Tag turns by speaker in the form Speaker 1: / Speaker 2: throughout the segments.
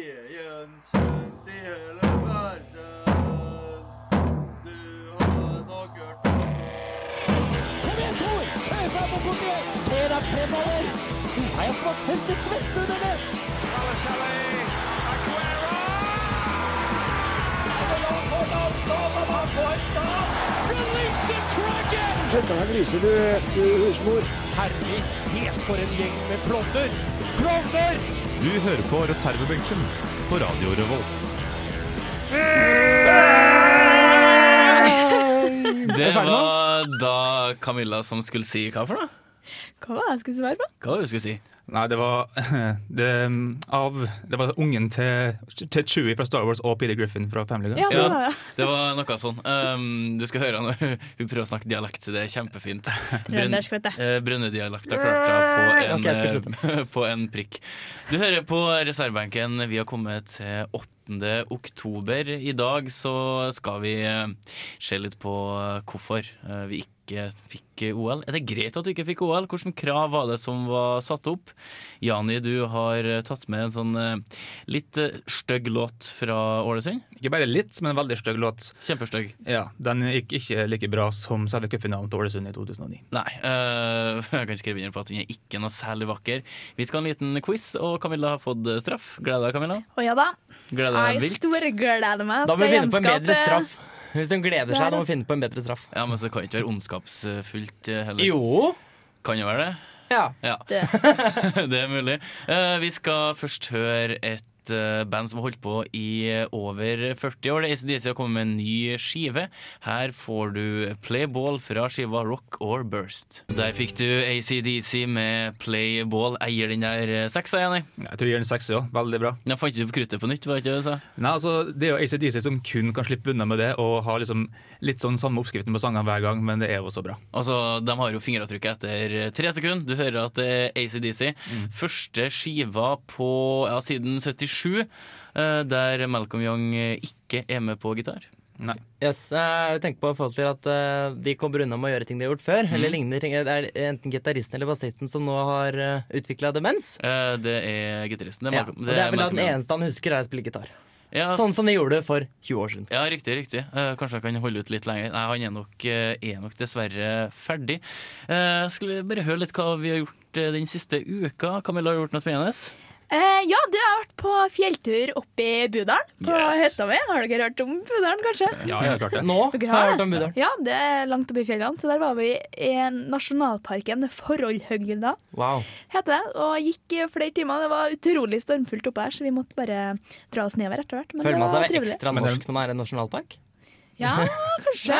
Speaker 1: Veden kjent i hele verden. Du har nok hørt om
Speaker 2: Kom igjen, Tor! Kjør fram og borti! Se deg fremover! Nå har jeg spart tørke svette under det!
Speaker 3: Du hører på reservebenken på Radio Revolt.
Speaker 4: Det var da Camilla som skulle si hva for noe?
Speaker 5: Hva var det jeg skulle svare på?
Speaker 4: Hva var det du skulle si?
Speaker 3: Nei, det var det, um, av, det var ungen til, til Chewie fra Star Wars og Peter Griffin fra Family Guy.
Speaker 5: Ja, det
Speaker 4: Ja.
Speaker 5: var det.
Speaker 4: Det var noe sånn. Um, du skal høre når hun prøver å snakke dialekt. Det er kjempefint. Brønn-
Speaker 5: Trøndersk, vet du.
Speaker 4: eh, Brønnøydialekt er klart da,
Speaker 3: Ok,
Speaker 4: på,
Speaker 3: jeg skal
Speaker 4: en, eh, på en prikk. Du hører på reservebenken. Vi har kommet til 8. oktober. I dag så skal vi eh, se litt på hvorfor eh, vi ikke fikk OL. Er det greit at du ikke fikk OL? Hvilke krav var det som var satt opp? Jani, du har eh, tatt med en sånn eh, litt eh, stygg låt fra Ålesund.
Speaker 3: Ikke bare litt, men en veldig stygg låt.
Speaker 4: Kjempestygg.
Speaker 3: Ja, Den gikk ikke like bra som selve cupfinalen til Ålesund i 2009.
Speaker 4: Nei. øh, jeg kan skrive under på at den er ikke noe særlig vakker. Vi skal ha en liten quiz, og Camilla har fått eh, straff. Gleder deg, Camilla?
Speaker 5: Å ja da.
Speaker 4: Gleder deg
Speaker 5: Jeg
Speaker 4: vilt?
Speaker 5: storgleder meg.
Speaker 6: Da må vi
Speaker 5: Skal
Speaker 6: finne på en bedre
Speaker 5: gjenskape-
Speaker 6: straff. Hvis de gleder
Speaker 5: Det er
Speaker 6: seg, da må
Speaker 5: det.
Speaker 6: vi finne på en bedre straff.
Speaker 4: Ja, men så kan det ikke være ondskapsfullt eh, heller.
Speaker 6: Jo.
Speaker 4: Kan jo være det.
Speaker 6: Ja.
Speaker 4: Ja,
Speaker 5: Det.
Speaker 4: det er mulig. Eh, vi skal først høre et eh, band som har holdt på i eh, over 40 år. Det er ACDC har kommet med en ny skive. Her får du Play Ball fra skiva Rock or Burst. Der fikk du ACDC med Play Ball. Eier den der eh, seksa, Jenny?
Speaker 3: Jeg tror jeg gir den seks, ja. Veldig bra.
Speaker 4: Jeg fant ikke opp kruttet på nytt, var det ikke det du sa?
Speaker 3: Nei, altså, Det er jo ACDC som kun kan slippe unna med det, og har liksom litt sånn samme oppskriften på sangene hver gang, men det er jo så bra.
Speaker 4: Altså, De har jo fingeravtrykket etter eh, tre sekunder. Du hører at eh, det er ACDC.
Speaker 6: Mm.
Speaker 4: Første skiva på, ja, siden 77, eh, der Malcolm Young eh, ikke er med på gitar.
Speaker 3: Nei.
Speaker 6: Yes, eh, jeg tenker på i forhold til at eh, De kommer unna med å gjøre ting de har gjort før. Eller lignende ting. Det er enten gitaristen eller bassisten som nå har uh, utvikla demens.
Speaker 4: Eh, Det er gitaristen. Det er
Speaker 6: Ja,
Speaker 4: Malcolm,
Speaker 6: og det er vel da
Speaker 4: Malcolm
Speaker 6: den
Speaker 4: Young.
Speaker 6: eneste han husker, er å spille gitar.
Speaker 4: Ja,
Speaker 6: Sånn som de gjorde for 20 år siden.
Speaker 4: Ja, riktig. riktig. Eh, kanskje jeg kan holde ut litt lenger. Nei, Han er nok, eh, er nok dessverre ferdig. Eh, skulle vi bare høre litt hva vi har gjort eh, den siste uka. Camilla, har du gjort noe spennende?
Speaker 5: Eh, ja, du har vært på fjelltur oppe i Budalen, på
Speaker 4: Yes.
Speaker 5: hytta mi. Har dere hørt om Budalen, kanskje?
Speaker 3: Ja, jeg har klart det.
Speaker 6: Nå har
Speaker 5: Dere
Speaker 6: jeg
Speaker 5: har
Speaker 6: hørt
Speaker 5: det?
Speaker 6: om Budalen.
Speaker 5: Ja, det er langt oppe i fjellene. Så der var vi i nasjonalparken Forollhøgda,
Speaker 6: Wow.
Speaker 5: heter det. Og gikk i flere timer. Det var utrolig stormfullt oppe her, så vi måtte bare dra oss nedover etter hvert. Men
Speaker 6: Føler
Speaker 5: det
Speaker 6: man
Speaker 5: var
Speaker 6: seg
Speaker 5: trivelig.
Speaker 6: ekstra
Speaker 3: Men det-
Speaker 6: norsk når man er i en nasjonalpark?
Speaker 5: Ja, kanskje.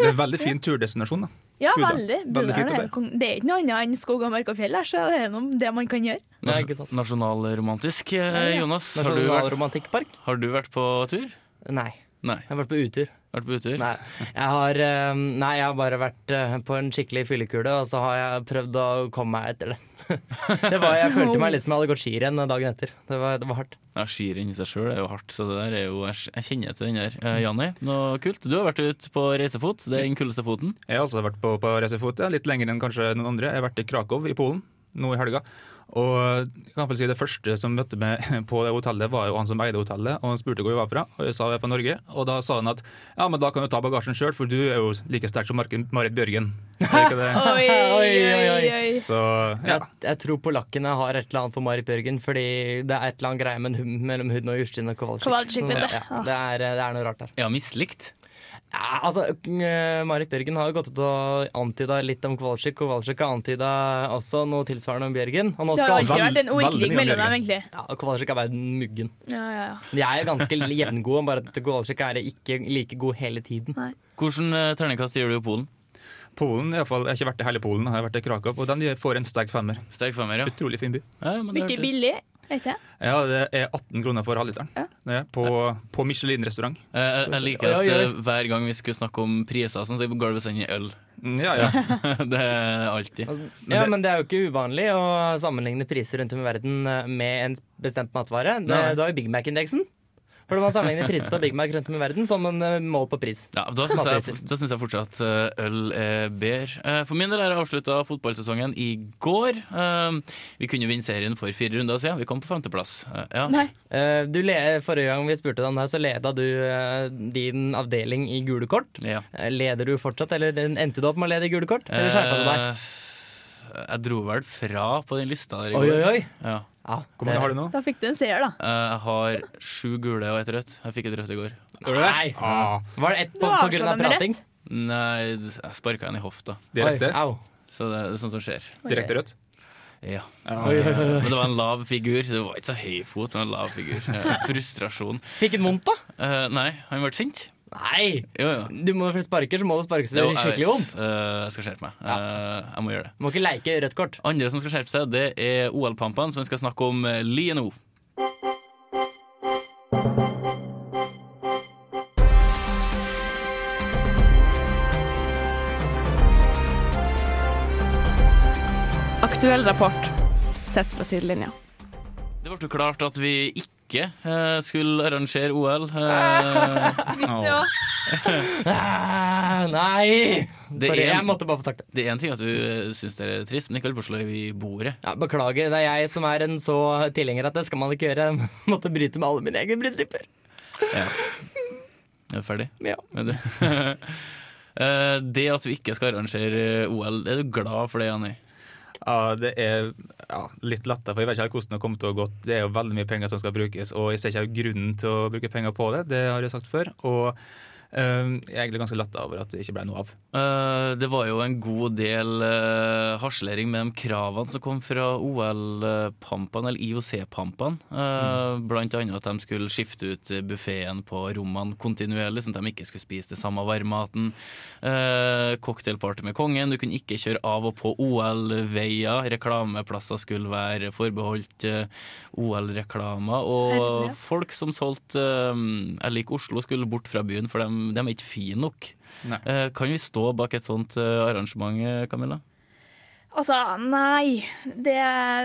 Speaker 3: Det er en veldig fin turdestinasjon. da.
Speaker 5: Ja,
Speaker 3: Budalen.
Speaker 5: veldig.
Speaker 3: Veldig
Speaker 5: Budalen
Speaker 3: fint å
Speaker 5: er
Speaker 3: være.
Speaker 5: jo kong- Det er ikke noe annet enn skog og mark og fjell her, så det er noe det man kan gjøre.
Speaker 6: Nei, ikke sant.
Speaker 4: Nasjonalromantisk, eh,
Speaker 5: ja.
Speaker 4: Jonas. Har du, vært,
Speaker 6: Nasjonalromantikkpark?
Speaker 4: har du vært på tur?
Speaker 6: Nei.
Speaker 4: Nei.
Speaker 6: Jeg har vært på utur.
Speaker 4: Vært på utur?
Speaker 6: Nei. Jeg har, eh, nei, jeg har bare vært eh, på en skikkelig fyllekule, og så har jeg prøvd å komme meg etter det. det var, jeg følte meg litt som jeg hadde gått skirenn dagen etter. Det var, det var hardt.
Speaker 4: Ja, Skirenn i seg sjøl er jo hardt, så det der er jo Jeg jeg kjenner til den der. Eh, Janni, noe kult? Du har vært ute på reisefot. Det er den kuleste foten.
Speaker 3: Jeg har også vært på, på reisefot, ja, litt lenger enn kanskje noen andre. Jeg har vært i Krakow i Polen nå i helga. Og jeg kan vel si det første som møtte meg på det hotellet, var jo han som eide hotellet. Og han spurte hvor jeg var fra, og jeg sa jeg er fra Norge. Og da sa han at ja, men da kan du ta bagasjen sjøl, for du er jo like sterk som Marken- Marit Bjørgen. Er ikke det?
Speaker 5: Oi,
Speaker 6: Oi, oi, oi.
Speaker 3: Så ja.
Speaker 6: Jeg, jeg tror polakkene har et eller annet for Marit Bjørgen, fordi det er et eller annet greie med en hund mellom hun og Justine Kowalczyk.
Speaker 5: Kowalczyk,
Speaker 6: Så
Speaker 5: vet du. Ah.
Speaker 6: ja, det, er, det er noe rart der.
Speaker 4: Ja, mislikt.
Speaker 6: Ja, altså, eh, Marit Bjørgen har jo gått ut og antyda litt om Kowalczyk. Kowalczyk har antyda også noe tilsvarende om Bjørgen. Og nå
Speaker 5: Det har jo
Speaker 6: skal
Speaker 3: Vel-
Speaker 5: alltid vært en
Speaker 3: veldig
Speaker 5: ordkrig
Speaker 3: mye
Speaker 5: mellom
Speaker 3: om
Speaker 5: dem, egentlig.
Speaker 6: ja, Kowalczyk er bare den muggen.
Speaker 5: Ja, ja, ja.
Speaker 6: De er jo ganske jevngode, bare at Kowalczyk er ikke like god hele tiden.
Speaker 4: Hvordan eh, terningkast gir du i Polen?
Speaker 3: Polen, i alle fall, Jeg har ikke vært i hele Polen, jeg har vært i Krakow, og den får en sterk femmer.
Speaker 4: Sterk femmer, ja.
Speaker 3: Utrolig fin by.
Speaker 4: ja men det
Speaker 5: Mye
Speaker 4: hørtes-
Speaker 5: billig, vet jeg.
Speaker 3: Ja, det er 18 kroner for halvliteren Det er på, på Michelin-restaurant.
Speaker 4: Eh, Jeg, jeg liker
Speaker 6: Oi,
Speaker 4: at
Speaker 6: oi, oi.
Speaker 4: eh, hver gang vi skulle snakke om priser, og sånn, så går det bestandig i øl.
Speaker 3: Ja, ja.
Speaker 4: det er alltid.
Speaker 6: ja, men det er jo ikke uvanlig å eh, sammenligne priser rundt om i verden med en bestemt matvare. Det,
Speaker 4: Nei.
Speaker 6: du har jo Big Mac-indeksen. Burde man sammenligne priser på Big Mac rundt om i verden som en eh, mål på pris?
Speaker 4: Ja, da syns jeg, da synes jeg fortsatt eh, øl er bedre. Eh, For min del har jeg avslutta fotballsesongen i går. Eh, Vi kunne vinne serien for fire runder siden. Vi kom på femteplass. Eh, Ja.
Speaker 5: Nei.
Speaker 6: Eh, Du le, forrige gang vi spurte deg om det, her, så leda du eh, din avdeling i gule kort.
Speaker 4: ja.
Speaker 6: Eh, Leder du fortsatt, eller endte du opp med å lede i gule kort? Eller skjerpa du deg?
Speaker 4: Eh, Jeg dro vel fra på den lista der i
Speaker 6: Oi,
Speaker 4: går.
Speaker 6: oi, oi.
Speaker 4: Ja.
Speaker 6: Ja,
Speaker 3: Hvor mange har du nå?
Speaker 5: Da fikk du en seier, da.
Speaker 4: Eh, Jeg har sju gule og ett rødt. Jeg fikk et rødt i går.
Speaker 6: Nei!
Speaker 3: Ah,
Speaker 6: Var det ett
Speaker 5: Du
Speaker 6: på, på grunn
Speaker 5: avslutta
Speaker 6: av
Speaker 5: med
Speaker 6: prating?
Speaker 5: rett.
Speaker 4: Nei, jeg sparka en i hofta.
Speaker 3: direkte.
Speaker 6: Oi, au.
Speaker 4: Så det er sånt som skjer.
Speaker 3: Direkte rødt.
Speaker 4: Ja.
Speaker 3: Ja.
Speaker 6: Oi, oi, oi.
Speaker 4: Men det var en lav figur. Det var ikke så høy fot, men en lav figur. Eh, Frustrasjon.
Speaker 6: Fikk han vondt, da?
Speaker 4: Eh, Nei, han ble sint.
Speaker 6: Nei!
Speaker 4: Jo, jo.
Speaker 6: Du må, for sparker så må du sparke så det
Speaker 4: Jo,
Speaker 6: gjør
Speaker 4: jeg
Speaker 6: skikkelig
Speaker 4: vet.
Speaker 6: vondt.
Speaker 4: Eh, jeg skal skjerpe meg. Eh, jeg må gjøre det.
Speaker 6: Du må ikke leike rødt kort.
Speaker 4: Andre som skal skjerpe seg, det er OL-pampene, som skal snakke om eh, Lie nå.
Speaker 7: Aktuell rapport sett fra sidelinja.
Speaker 4: Det ble jo klart at vi ikke eh, skulle arrangere OL. Eh,
Speaker 5: Visste det også.
Speaker 6: Ah, nei!
Speaker 4: Det
Speaker 6: Sorry,
Speaker 4: er-
Speaker 6: jeg måtte bare få sagt det.
Speaker 4: det er én ting at du eh, syns det er trist, men ikke hold på å slå i bordet.
Speaker 6: Ja, beklager, det er jeg som er en så tilhenger at det skal man ikke gjøre. Måtte bryte med alle mine egne prinsipper.
Speaker 4: Er du ferdig?
Speaker 6: Ja.
Speaker 4: Er du? Eh, det at vi ikke skal arrangere OL, er du glad for det, Janni?
Speaker 3: Ja, det er ja, litt lettere, for jeg vet ikke helt hvordan det kommer til å gå. Det er jo veldig mye penger som skal brukes, og jeg ser ikke helt grunnen til å bruke penger på det. Det har jeg sagt før. Og øhm, jeg er egentlig ganske letta over at det ikke ble noe av.
Speaker 4: Eh, det var jo en god del eh, harselering med de kravene som kom fra OL-pampene, eller IOC-pampene. Eh, Blant annet at de skulle skifte ut buffeen på rommene kontinuerlig, sånn at de ikke skulle spise det samme varmmaten. Uh, cocktailparty med kongen, du kunne ikke kjøre av og på OL-veier. Reklameplasser skulle være forbeholdt eh, OL-reklamer. Og
Speaker 5: Herlig.
Speaker 4: folk som solgte eh, Jeg liker Oslo, skulle bort fra byen, for de, de er ikke fine nok. Eh, Kan vi stå bak et sånt eh, arrangement, eh, Camilla?
Speaker 5: Altså, nei. Det,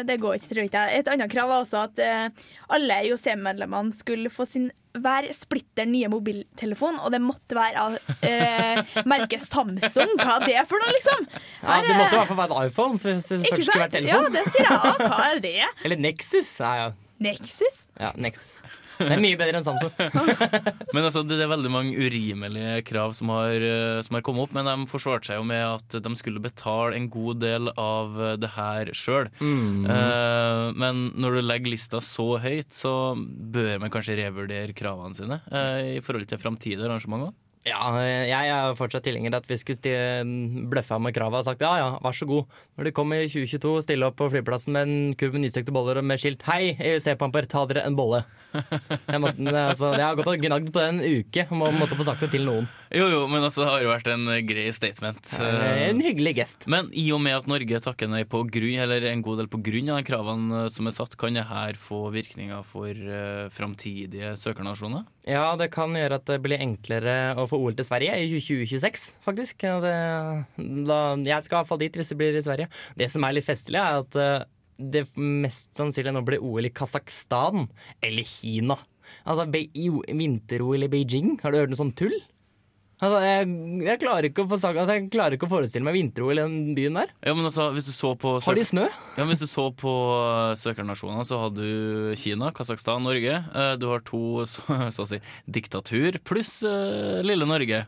Speaker 5: det går ikke, tror jeg ikke jeg. Et annet krav var også at eh, alle IOC-medlemmene skulle få sin hver splitter nye mobiltelefon, og det måtte være av eh, merket Samsung. Hva er det for noe, liksom?
Speaker 6: Ja,
Speaker 5: Her
Speaker 6: det måtte i
Speaker 5: er-
Speaker 6: hvert fall være en iPhone. Så hvis det
Speaker 5: Ikke
Speaker 6: først skulle vært
Speaker 5: sant? Ja,
Speaker 6: telefon.
Speaker 5: det sier jeg. Ah, hva er det?
Speaker 6: Eller Nexus. Ja, ja.
Speaker 5: Nexus?
Speaker 6: ja, Nexus. Det er mye bedre enn Samsung.
Speaker 4: Men altså, Det det er veldig mange urimelige krav som har, eh, som har kommet opp, men de forsvarte seg jo med at de skulle betale en god del av eh, det her sjøl. Men når du legger lista så høyt, så bør man kanskje revurdere kravene sine eh, i forhold til framtidige arrangementer.
Speaker 6: Ja, jeg er fortsatt tilhenger av at vi skulle sti- mm, bløffe med kravet og sagt ja ja, vær så god. Når de kommer i 2022, stille opp på flyplassen med en kurv med nystekte boller og med skilt 'Hei, EUC-pamper, ta dere en bolle'. Jeg, måtte, altså, jeg har gått og gnagd på det en uke og må, måtte få sagt det til noen.
Speaker 4: Jo, jo, men altså, det har jo vært en eh, grei statement. Eh,
Speaker 6: En hyggelig gest.
Speaker 4: Men i og med at Norge takker nei på grunn, eller en god del på grunn av de kravene eh, som er satt, kan det her få virkninger for eh, framtidige søkernasjoner?
Speaker 6: Ja, det kan gjøre at det blir enklere å få OL til Sverige i 2026, faktisk. Ja, Det, da, jeg skal i hvert fall dit hvis det blir i Sverige. Det som er litt festlig, er at eh, det mest sannsynlig nå blir OL i Kasakhstan eller Kina. Altså Be- i O- vinter-OL i Beijing, har du hørt noe sånt tull? Altså, jeg, jeg, klarer ikke å få, sagt- altså, jeg klarer ikke å forestille meg vinter-OL i den byen der.
Speaker 4: Ja, men altså, hvis du så på,
Speaker 6: Har de
Speaker 4: søk
Speaker 6: snø?
Speaker 4: ja, men hvis du så på eh, søkernasjonene, så har du Kina, Kasakhstan, Norge. Eh, Du har to så, så å si diktatur pluss eh, lille Norge.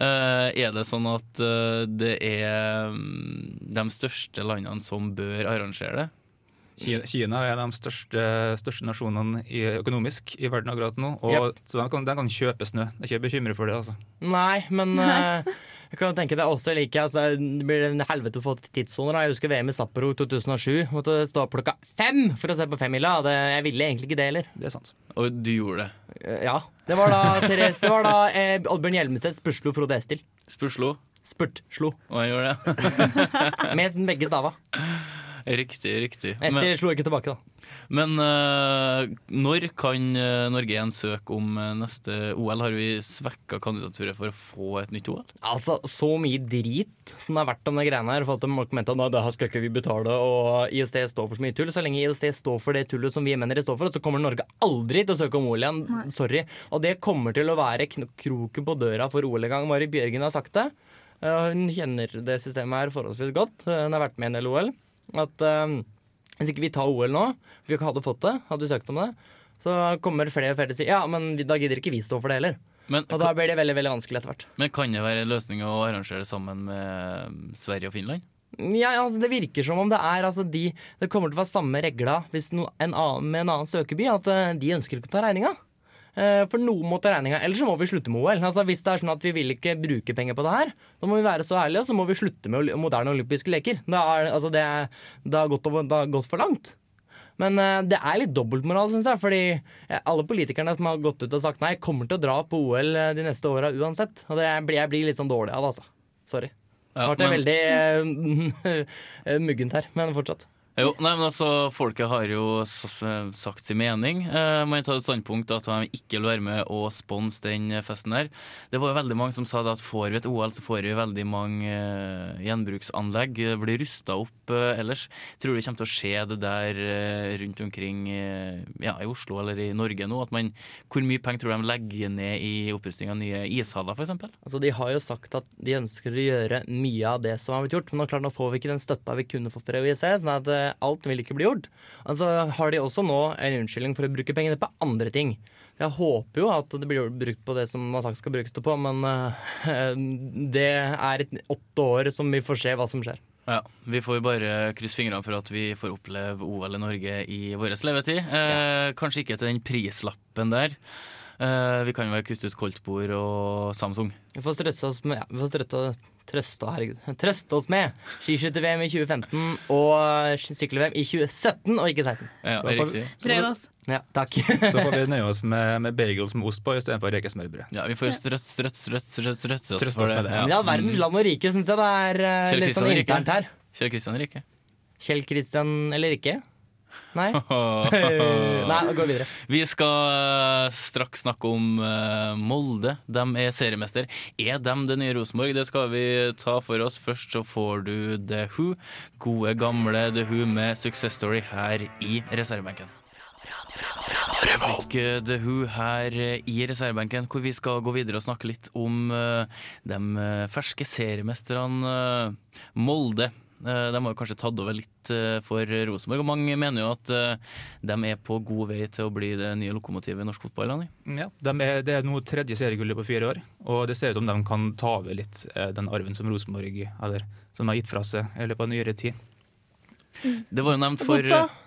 Speaker 4: Eh, Er det sånn at eh, det er mm, de største landene som bør arrangere det?
Speaker 3: Ki- Kina er en av de største, største nasjonene i, økonomisk i verden akkurat nå, og så de kan, de kan kjøpe snø. Jeg er ikke bekymret for det, altså.
Speaker 6: Nei, men eh, jeg kan jo tenke det er også like altså, Det blir en helvete å få til tidssoner. da. Jeg husker VM i Sapporo 2007. Måtte stå opp klokka fem for å se på femmila. og det- Jeg ville egentlig ikke det heller.
Speaker 3: Det er sant.
Speaker 4: Og du gjorde det.
Speaker 6: Eh, Ja. Det var da, Therese, det var da eh, Oddbjørn Hjelmeset spørslo Frode Estil.
Speaker 4: Spørslo,
Speaker 6: Spurt. Slo.
Speaker 4: og jeg gjorde det.
Speaker 6: Med begge stava.
Speaker 4: Riktig, riktig. Men,
Speaker 6: Esti slo ikke tilbake, da.
Speaker 4: men eh, når kan eh, Norge igjen søke om eh, neste OL? Har vi svekka kandidaturet for å få et nytt OL?
Speaker 6: Altså, Så mye drit som det har vært om de greiene her. For at folk mente at nei, det her skal ikke vi betale, og IOC står for så mye tull. Så lenge IOC står for det tullet som vi mener de står for, så kommer Norge aldri til å søke om OL igjen. Sorry. Og det kommer til å være kn- kroken på døra for OL en gang. Mari Bjørgen har sagt det. Eh, Hun kjenner det systemet her forholdsvis godt. Eh, Hun har vært med i en del OL. At eh, hvis ikke vi tar OL nå, vi hadde fått det, hadde vi søkt om det, så kommer flere og flere til å si ja, men da gidder ikke vi stå for det heller.
Speaker 4: Men,
Speaker 6: Og da blir det veldig, veldig vanskelig etter hvert.
Speaker 4: men kan det være en løsning å arrangere det sammen med eh, Sverige og Finland?
Speaker 6: Ja, altså Det virker som om det er altså de Det kommer til å være samme regla hvis no, en annen, med en annen søkeby. At eh, de ønsker ikke å ta regninga. Eh, For noen må ta regninga, ellers så må vi slutte med OL. Altså Hvis det er sånn at vi vil ikke bruke penger på det her, da må vi være så ærlige, og så må vi slutte med oli- moderne olympiske leker. Da er, altså det, er- det, har gått over, det har gått for langt. Men eh, det er litt dobbeltmoral, syns jeg. Fordi eh, alle politikerne som har gått ut og sagt nei, kommer til å dra på OL eh, de neste åra uansett. Og det, jeg blir- jeg blir litt sånn dårlig av det, altså. Sorry.
Speaker 4: Ja,
Speaker 6: Nå ble
Speaker 4: men-
Speaker 6: det veldig eh, muggent her, men fortsatt.
Speaker 4: Jo, nei, men altså, Folket har jo s- s- sagt sin mening. Eh, man tar et standpunkt at de ikke vil være med og sponse den festen der. Det var jo veldig mange som sa det at får vi et OL, så får vi veldig mange eh, gjenbruksanlegg. Det blir rusta opp eh, ellers. Tror du det kommer til å skje det der eh, rundt omkring eh, ja, i Oslo eller i Norge nå? At man, hvor mye penger tror du de legger ned i opprusting av nye ishaller, f.eks.?
Speaker 6: Altså, de har jo sagt at de ønsker å gjøre mye av det som har blitt gjort, men nå, klart, nå får vi ikke den støtta vi kunne fått fra OIC, sånn at eh, alt vil ikke bli gjort. Altså, har de også nå en unnskyldning for å bruke pengene på andre ting. Jeg håper jo at det blir brukt på det som man har sagt skal brukes det på, men eh, det er et åtte år som vi får se hva som skjer.
Speaker 4: Ja, Vi får bare krysse fingrene for at vi får oppleve OL i Norge i vår levetid. Eh, Kanskje ikke til den prislappen der. Eh, vi kan vel kutte ut koldtbord og Samsung.
Speaker 6: Vi får strøtte oss med ja, Vi får strøtte, trøste, herregud, trøste oss med skiskytter-VM i 2015 og eh, sykkel-VM i 2017, og ikke 16.
Speaker 3: Så
Speaker 4: Ja,
Speaker 3: får vi-
Speaker 4: riktig.
Speaker 5: Prøv, altså.
Speaker 6: Ja, takk.
Speaker 3: Så får vi nøye oss med, med bagels med ost på istedenfor rekesmørbrød.
Speaker 4: Ja, vi får strøtt, strøtt, strøtt, strøtt, strøtt oss
Speaker 3: Trøste
Speaker 4: for
Speaker 3: oss
Speaker 4: det.
Speaker 3: med det.
Speaker 6: Men i all verdens land og rike syns jeg det er eh,
Speaker 4: Kjell
Speaker 6: litt sånn
Speaker 4: Kristian Rike.
Speaker 6: internt her.
Speaker 4: Kjell Kristian Rike.
Speaker 6: Kjell Kristian eller ikke? Nei. Eh, Nei,
Speaker 4: Nei.
Speaker 6: gå videre.
Speaker 4: Vi skal eh, straks snakke om eh, Molde. De er seriemester. Er de det nye Rosenborg? Det skal vi ta for oss. Først så får du The Who. Gode, gamle The Who med Success Story her i reservebenken. Folk, eh, The Who her eh, i reservebenken, hvor vi skal gå videre og snakke litt om eh, de eh, ferske seriemesterne eh, Molde. Eh, De har jo kanskje tatt over litt eh, for Rosenborg, og mange mener jo at eh, de er på god vei til å bli det nye lokomotivet i norsk fotball. Anni.
Speaker 3: Ja, de er, Det er nå tredje seriegullet på fire år, og det ser ut som de kan ta over litt eh, den arven som Rosenborg eller, som de har gitt fra seg i løpet av nyere tid.
Speaker 4: Det var jo nevnt for Mhm.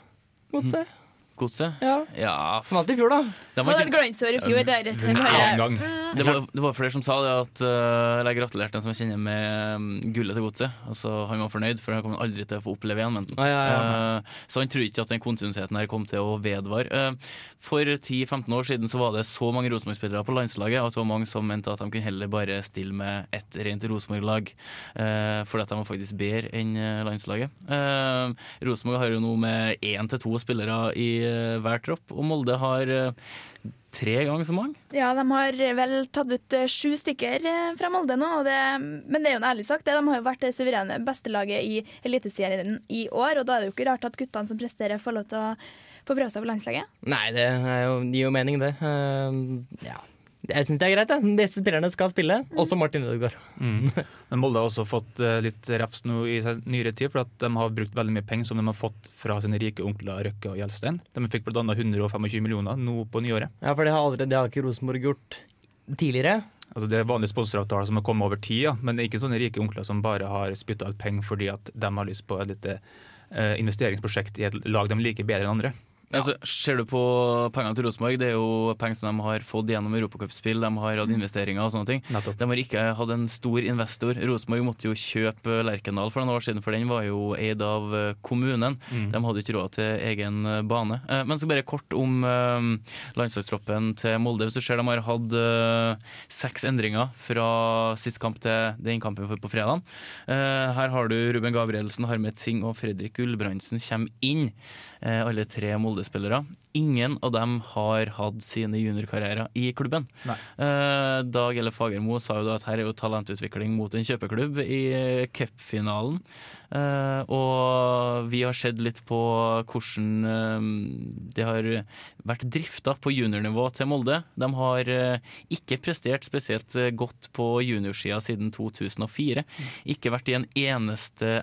Speaker 6: Godset. Godset.
Speaker 4: Godset.
Speaker 6: Ja.
Speaker 4: Ja, f-
Speaker 6: Vant i fjor, da.
Speaker 4: de
Speaker 5: Det var
Speaker 4: var
Speaker 5: et
Speaker 4: ikke,
Speaker 5: glansår i fjor.
Speaker 6: Mm.
Speaker 5: Der, etter
Speaker 3: Annen
Speaker 5: bare,
Speaker 3: gang.
Speaker 4: det, var, det var flere som sa det, at, eh, eller jeg gratulerte den som jeg kjenner med mm, gullet til Godset. Altså, han var fornøyd, for han kommer han aldri til å få oppleve igjen. Men,
Speaker 6: Ja, ja, ja.
Speaker 4: Eh, Så han tror ikke at den kontinuiteten her kom til å vedvare. Eh, For 10-15 år siden så var det så mange Rosenborg-spillere på landslaget at det var mange som mente at de kunne heller bare stille med ett rent Rosenborg-lag, eh, fordi at de var faktisk bedre enn eh, landslaget. Eh, Rosenborg har jo nå med én til to spillere i eh, hver tropp, og Molde har eh, tre ganger så mange.
Speaker 5: ja, de har vel tatt ut eh, sju stykker eh, fra Molde nå, og det, men det er jo en ærlig sak. Det. De har jo vært det suverene bestelaget i Eliteserien i år, og da er det jo ikke rart at guttene som presterer, får lov til å få prøve seg på landslaget.
Speaker 6: Nei, det er jo, gir jo mening, det. Eh, ja. Jeg syns det er greit. Jeg. Disse spillerne skal spille. Også Martin Ødegaard.
Speaker 4: Mm.
Speaker 3: Mm. Men Molde har også fått eh, litt refs nå i se- nyere tid, for at de har brukt veldig mye penger som de har fått fra sine rike onkler Røkke og Gjelstein. De fikk bl.a. 125 millioner nå på nyåret.
Speaker 6: Ja, for det har, aldri, det har ikke Rosenborg gjort tidligere.
Speaker 3: Altså Det er vanlige sponsoravtaler som har kommet over tid, ja. men det er ikke sånne rike onkler som bare har spytta ut penger fordi at de har lyst på et lite eh, investeringsprosjekt i et lag de liker bedre enn andre.
Speaker 4: Altså, ser du på pengene til Rosenborg, det er jo penger som de har fått gjennom europacupspill, de har hatt investeringer og sånne ting.
Speaker 3: Nettopp.
Speaker 4: De har ikke hatt en stor investor. Rosenborg måtte jo kjøpe Lerkendal for noen år siden, for den var jo eid av eh, kommunen. De hadde ikke råd til egen eh, bane. Eh, Men så bare kort om eh, landslagstroppen til Molde. Hvis du ser de har hatt eh, seks endringer fra sist kamp til den kampen for- på fredag. Eh, Her har du Ruben Gabrielsen, Harmet Singh og Fredrik Gulbrandsen kommer inn. Eh, Alle tre Molde-spillere. Ingen av dem har hatt sine juniorkarrierer i klubben.
Speaker 3: Nei.
Speaker 4: Eh, Dag Eller Fagermo sa jo da at her er jo talentutvikling mot en kjøpeklubb i eh, cupfinalen. Eh, og vi har sett litt på hvordan eh, det har vært drifta på juniornivå til Molde. De har eh, ikke prestert spesielt eh, godt på juniorsida siden 2004. Ikke vært i en eneste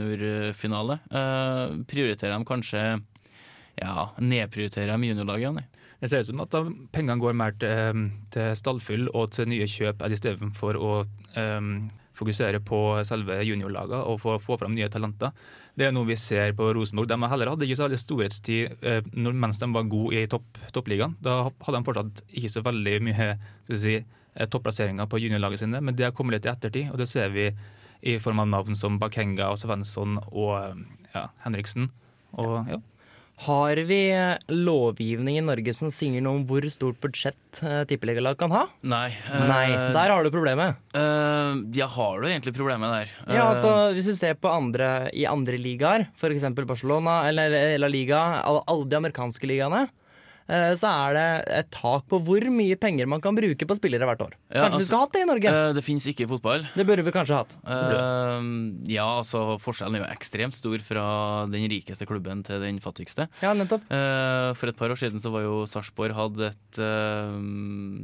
Speaker 4: NM-juniorfinale. Eh, prioriterer de kanskje ja, nedprioriterer de juniorlagene? nei?
Speaker 3: Det ser ut som at da pengene går mer til, eh, til stallfyll og til nye kjøp enn istedenfor å em, fokusere på selve juniorlagene og få, få fram nye talenter. Det er noe vi ser på Rosenborg. De har heller hadde ikke så veldig storhetstid eh, når- mens de var gode i topp, toppligaen. Da hadde de fortsatt ikke så veldig mye skal vi si, eh, topplasseringer på juniorlagene sine, men det har kommet litt i ettertid, og det ser vi i form av navn som Bakenga og Svensson og eh, ja, Henriksen. Og ja,
Speaker 6: Har vi eh, lovgivning i Norge som sier noe om hvor stort budsjett eh, tippeligalag kan ha?
Speaker 4: Nei. eh,
Speaker 6: Nei, der har du problemet.
Speaker 4: eh, ja, har du egentlig problemet der? Eh,
Speaker 6: Ja, altså Hvis du ser på andre i andre ligaer, f.eks. Barcelona eller La Liga, alle, alle de amerikanske ligaene, eh, så er det et tak på hvor mye penger man kan bruke på spillere hvert år. Kanskje
Speaker 4: Ja,
Speaker 6: vi
Speaker 4: altså-
Speaker 6: skal ha hatt det i Norge?
Speaker 4: eh, det fins ikke i fotball.
Speaker 6: Det burde vi kanskje hatt.
Speaker 4: Eh, ja, altså forskjellen er jo ekstremt stor fra den rikeste klubben til den fattigste.
Speaker 6: Ja, nettopp.
Speaker 4: Eh, for et par år siden så var jo Sarpsborg hadde et eh,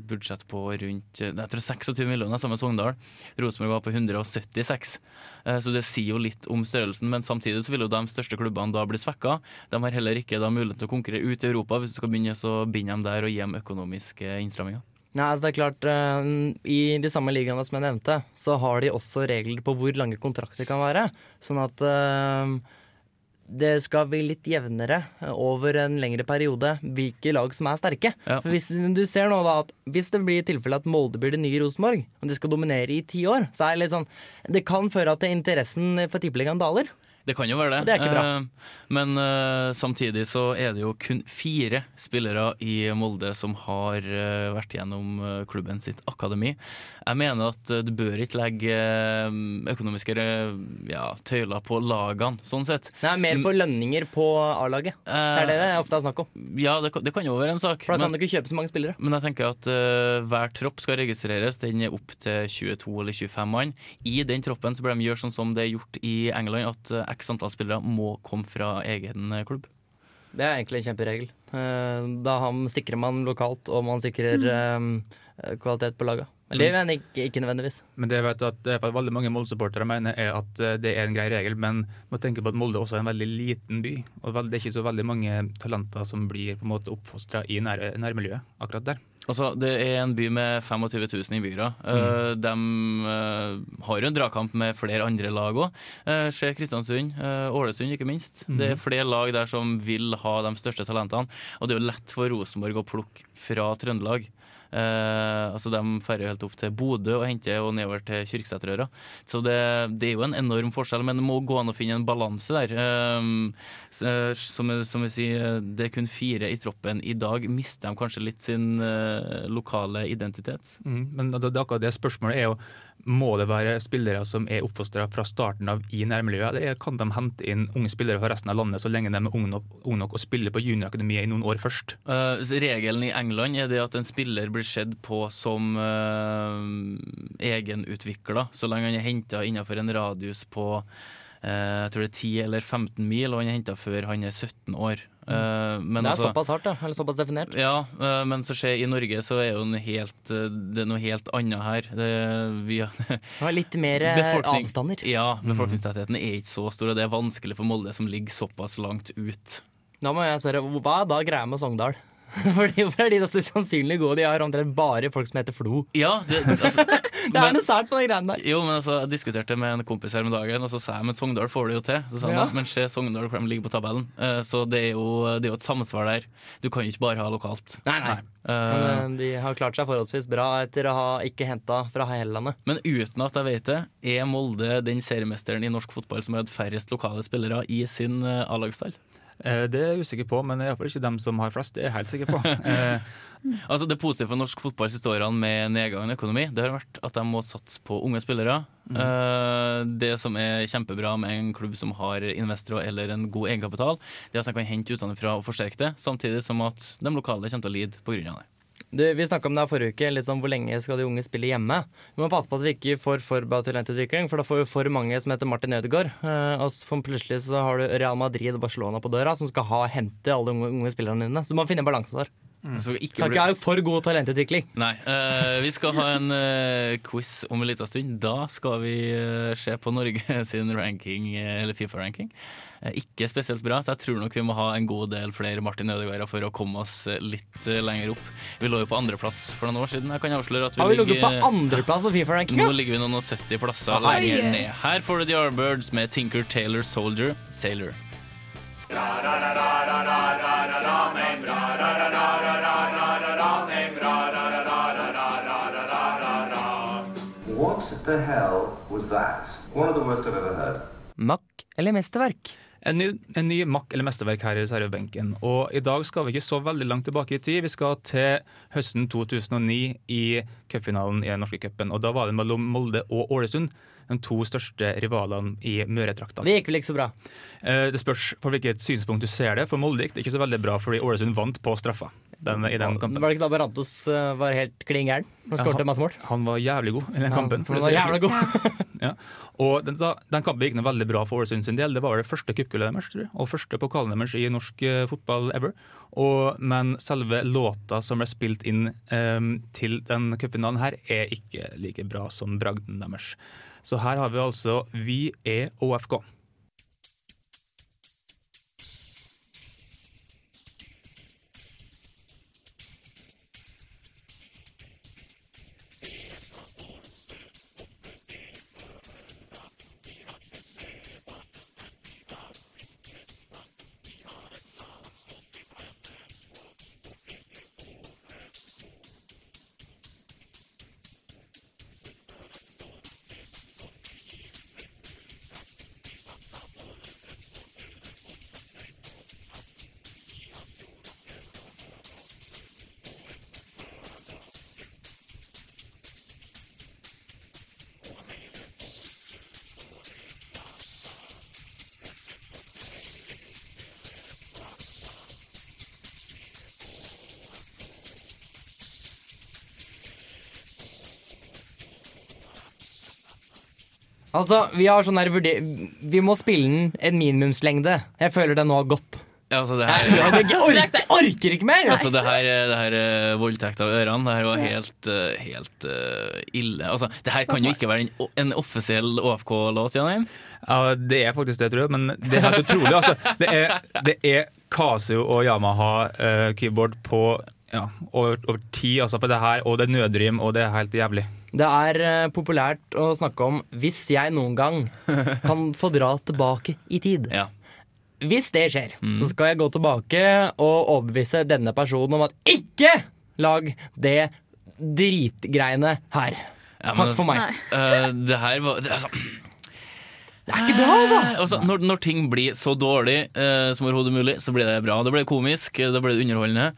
Speaker 4: budsjett på rundt eh, jeg tror 26 millioner, samme Sogndal. Rosenborg var på 176. Eh, så det sier jo litt om størrelsen, men samtidig så vil jo de største klubbene da bli svekka. De har heller ikke da mulighet til å konkurrere ut i Europa hvis du skal begynne å binde dem der og gi dem økonomiske innstramminger.
Speaker 6: Nei, altså det er klart eh, I de samme ligaene som jeg nevnte, så har de også regler på hvor lange kontrakter kan være. Sånn at eh, det skal bli litt jevnere eh, over en lengre periode hvilke lag som er sterke.
Speaker 4: Ja.
Speaker 6: For hvis du ser nå da at hvis det blir tilfelle at Molde blir det nye Rosenborg, og de skal dominere i ti år, så er det litt sånn Det kan føre til interessen for tippeligaen daler.
Speaker 4: Det kan jo være det.
Speaker 6: Det er ikke bra.
Speaker 4: Eh, Men eh, samtidig så er det jo kun fire spillere i Molde som har eh, vært gjennom eh, klubben sitt akademi. Jeg mener at eh, du bør ikke legge eh, økonomiske eh, ja, tøyler på lagene, sånn sett.
Speaker 6: Nei, mer på lønninger på A-laget. Det er det det ofte er snakk om.
Speaker 4: Eh, Ja, det, kan- det kan jo være en sak.
Speaker 6: For da
Speaker 4: men-
Speaker 6: kan du ikke kjøpe så mange spillere.
Speaker 4: Men jeg tenker at eh, hver tropp skal registreres. Den er opp til 22 eller 25 mann. I den troppen så bør de gjøre sånn som det er gjort i England, at eh, x antall spillere må komme fra egen eh, klubb.
Speaker 6: Det er egentlig en kjemperegel. Eh, Da ham sikrer man lokalt, og man sikrer
Speaker 4: Mm.
Speaker 6: eh, kvalitet på laga. Eller men ikke, ikke nødvendigvis.
Speaker 3: Men det jeg vet at det er for veldig mange Molde-supportere mener er at eh, det er en grei regel, men må tenke på at Molde også er en veldig liten by, og vel- det er ikke så veldig mange talenter som blir på en måte oppfostra i nær, nærmiljøet akkurat der.
Speaker 4: Altså, Det er en by med 25 000 innbyggere. Eh, de eh, har jo en dragkamp med flere andre lag òg. Ser Kristiansund, eh, Ålesund ikke minst. Det er flere lag der som vil ha de største talentene. Og det er jo lett for Rosenborg å plukke fra Trøndelag. Eh, altså De færre helt opp til Bodø og henter og nedover til Kyrksæterøra. Så det, det er jo en enorm forskjell, men det må gå an å finne en balanse der. Eh, s- eh, som, som vi sier, det er kun fire i troppen. I dag mister de kanskje litt sin eh, lokale identitet.
Speaker 3: Mm. Men det, det, er akkurat det spørsmålet er jo må det være spillere som er oppfostra fra starten av i nærmiljøet, eller er- kan de hente inn unge spillere fra resten av landet så lenge de er unge nok, unge nok og spiller på juniorakademiet i noen år først?
Speaker 4: Eh, så regelen i England er det at en spiller blir sett på som uh, egenutvikla, så lenge han er henta innenfor en radius på eh, jeg tror det er 10 eller 15 mil, og han er henta før han er 17 år. Eh, men
Speaker 6: Mm. Det er
Speaker 4: altså-
Speaker 6: såpass hardt, da. Eller såpass definert.
Speaker 4: Ja, eh, men så skjer i Norge så er jo en helt, eh, det er noe helt annet her. Det, vi,
Speaker 6: Det var litt mer eh,
Speaker 4: Befolkning-
Speaker 6: avstander. Mm.
Speaker 4: Ja, befolkningstettheten er ikke så stor, og det er vanskelig for Molde som ligger såpass langt ut.
Speaker 6: Da må jeg spørre, hva er da greia med Sogndal? Fordi, for de er så usannsynlig gode. De har omtrent bare folk som heter Flo.
Speaker 4: Ja, det, altså,
Speaker 6: Det er
Speaker 4: men,
Speaker 6: noe sært på den greia der.
Speaker 4: jo, men altså, jeg diskuterte med en kompis her om dagen, og så sa jeg men Sogndal får det jo til. Så sa han
Speaker 6: Ja.
Speaker 4: at men se Sogndal hvor de ligger på tabellen. Eh, Så det er, jo, det er jo et samsvar der. Du kan jo ikke bare ha lokalt.
Speaker 6: Nei, nei.
Speaker 4: Eh,
Speaker 6: Men eh, de har klart seg forholdsvis bra etter å ha ikke henta fra hele landet.
Speaker 4: Men uten at jeg vet det, er Molde den seriemesteren i norsk fotball som har hatt færrest lokale spillere i sin eh, A-lagstall?
Speaker 3: Eh, Det er jeg usikker på, men det er iallfall ikke dem som har flest. Det er jeg helt sikker på. Eh,
Speaker 4: Altså Det positive for norsk fotball de siste årene med nedgang i økonomi, det har vært at de må satse på unge spillere. Eh, Det som er kjempebra med en klubb som har investorer eller en god egenkapital, det er at de kan hente utenfra og forsterke det, samtidig som at de lokale kommer til å lide pga. det.
Speaker 6: Du, vi snakka om det her forrige uke, litt sånn, hvor lenge skal de unge spille hjemme? Vi må passe på at vi ikke får for bra talentutvikling, for da får vi for mange som heter Martin Ødegaard. Eh, og så plutselig så har du Real Madrid og Barcelona på døra, som skal ha hente alle de unge, unge spillerne dine. Så du må finne en balanse der.
Speaker 4: Så ikke
Speaker 6: Kan
Speaker 4: bli-
Speaker 6: ikke ha for god talentutvikling.
Speaker 4: Nei. eh, vi skal ha en eh, quiz om en liten stund. Da skal vi eh, se på Norge sin ranking, eh, eller Fifa-ranking. Eh, ikke spesielt bra, så jeg tror nok vi må ha en god del flere Martin Ødegaard for å komme oss eh, litt eh, lenger opp. Vi lå jo på andreplass for noen år siden. Jeg kan avsløre at vi,
Speaker 6: Har vi ligget på
Speaker 4: ligger
Speaker 6: andreplass på Fifa-rankinga?
Speaker 4: nå ligger vi noen og 70 plasser
Speaker 7: Oi.
Speaker 4: lenger ned. Her får du The Arbirds med Tinker Taylor Soldier Sailor.
Speaker 8: What the hell was that? One of the worst I've ever heard.
Speaker 6: Makk eller mesterverk?
Speaker 3: En ny, en ny makk eller mesterverk her i reservebenken. Og i dag skal vi ikke så veldig langt tilbake i tid. Vi skal til høsten 2009 i cupfinalen i den norske cupen. Og da var det mellom Molde og Ålesund, de to største rivalene i Møre-trakta.
Speaker 6: Det gikk vel ikke så bra.
Speaker 3: Eh, Det spørs fra hvilket synspunkt du ser det. For Molde gikk det ikke så veldig bra, fordi Ålesund vant på straffa den, i den kampen.
Speaker 6: Var det ikke da Barrantos eh, var helt klin gæren? Han skåret
Speaker 3: han-
Speaker 6: masse mål.
Speaker 3: Han var jævlig god i den kampen. for å
Speaker 6: Han
Speaker 3: si
Speaker 6: var
Speaker 3: det sånn.
Speaker 6: jævla
Speaker 3: slik.
Speaker 6: god.
Speaker 3: Ja. Og den, da- den kampen gikk noe veldig bra for Ålesund sin del. Det var det første cupgullet deres, tror jeg, og første pokalen deres i norsk eh, fotball ever. Og, men selve låta som ble spilt inn em, til den cupfinalen her, er ikke like bra som bragden deres. Så her har vi altså Vi er OFK.
Speaker 6: Altså, vi har sånn her vurder... Vi må spille den en minimumslengde. Jeg føler det nå har gått.
Speaker 4: Ja, Altså, det
Speaker 6: Jeg
Speaker 4: her,
Speaker 6: orker, orker ikke mer!
Speaker 4: Altså, det her, det her eh, voldtekt av ørene, det her var helt, eh, helt eh, ille. Altså, det her kan jo ikke være en, o- en offisiell OFK-låt, Janheim.
Speaker 3: Ja, det er faktisk det, tror jeg, men det er helt utrolig. Altså, det, er, det er Casio og Yamaha-keyboard på ja, over, over tid, altså, for det her, og det er nødrim, og det er helt jævlig.
Speaker 6: Det er eh, populært å snakke om 'hvis jeg noen gang kan få dra tilbake i tid'.
Speaker 4: Ja.
Speaker 6: Hvis det skjer, så skal jeg gå tilbake og overbevise denne personen om at ikke lag det dritgreiene her.
Speaker 4: Ja, men
Speaker 6: Takk for meg.
Speaker 5: Nei.
Speaker 4: Eh, det her var det, altså,
Speaker 6: Det er ikke bra, altså!
Speaker 4: eh, altså, når, når ting blir så dårlig eh, som overhodet mulig, så blir det bra. Da blir det komisk, eh, da blir det underholdende.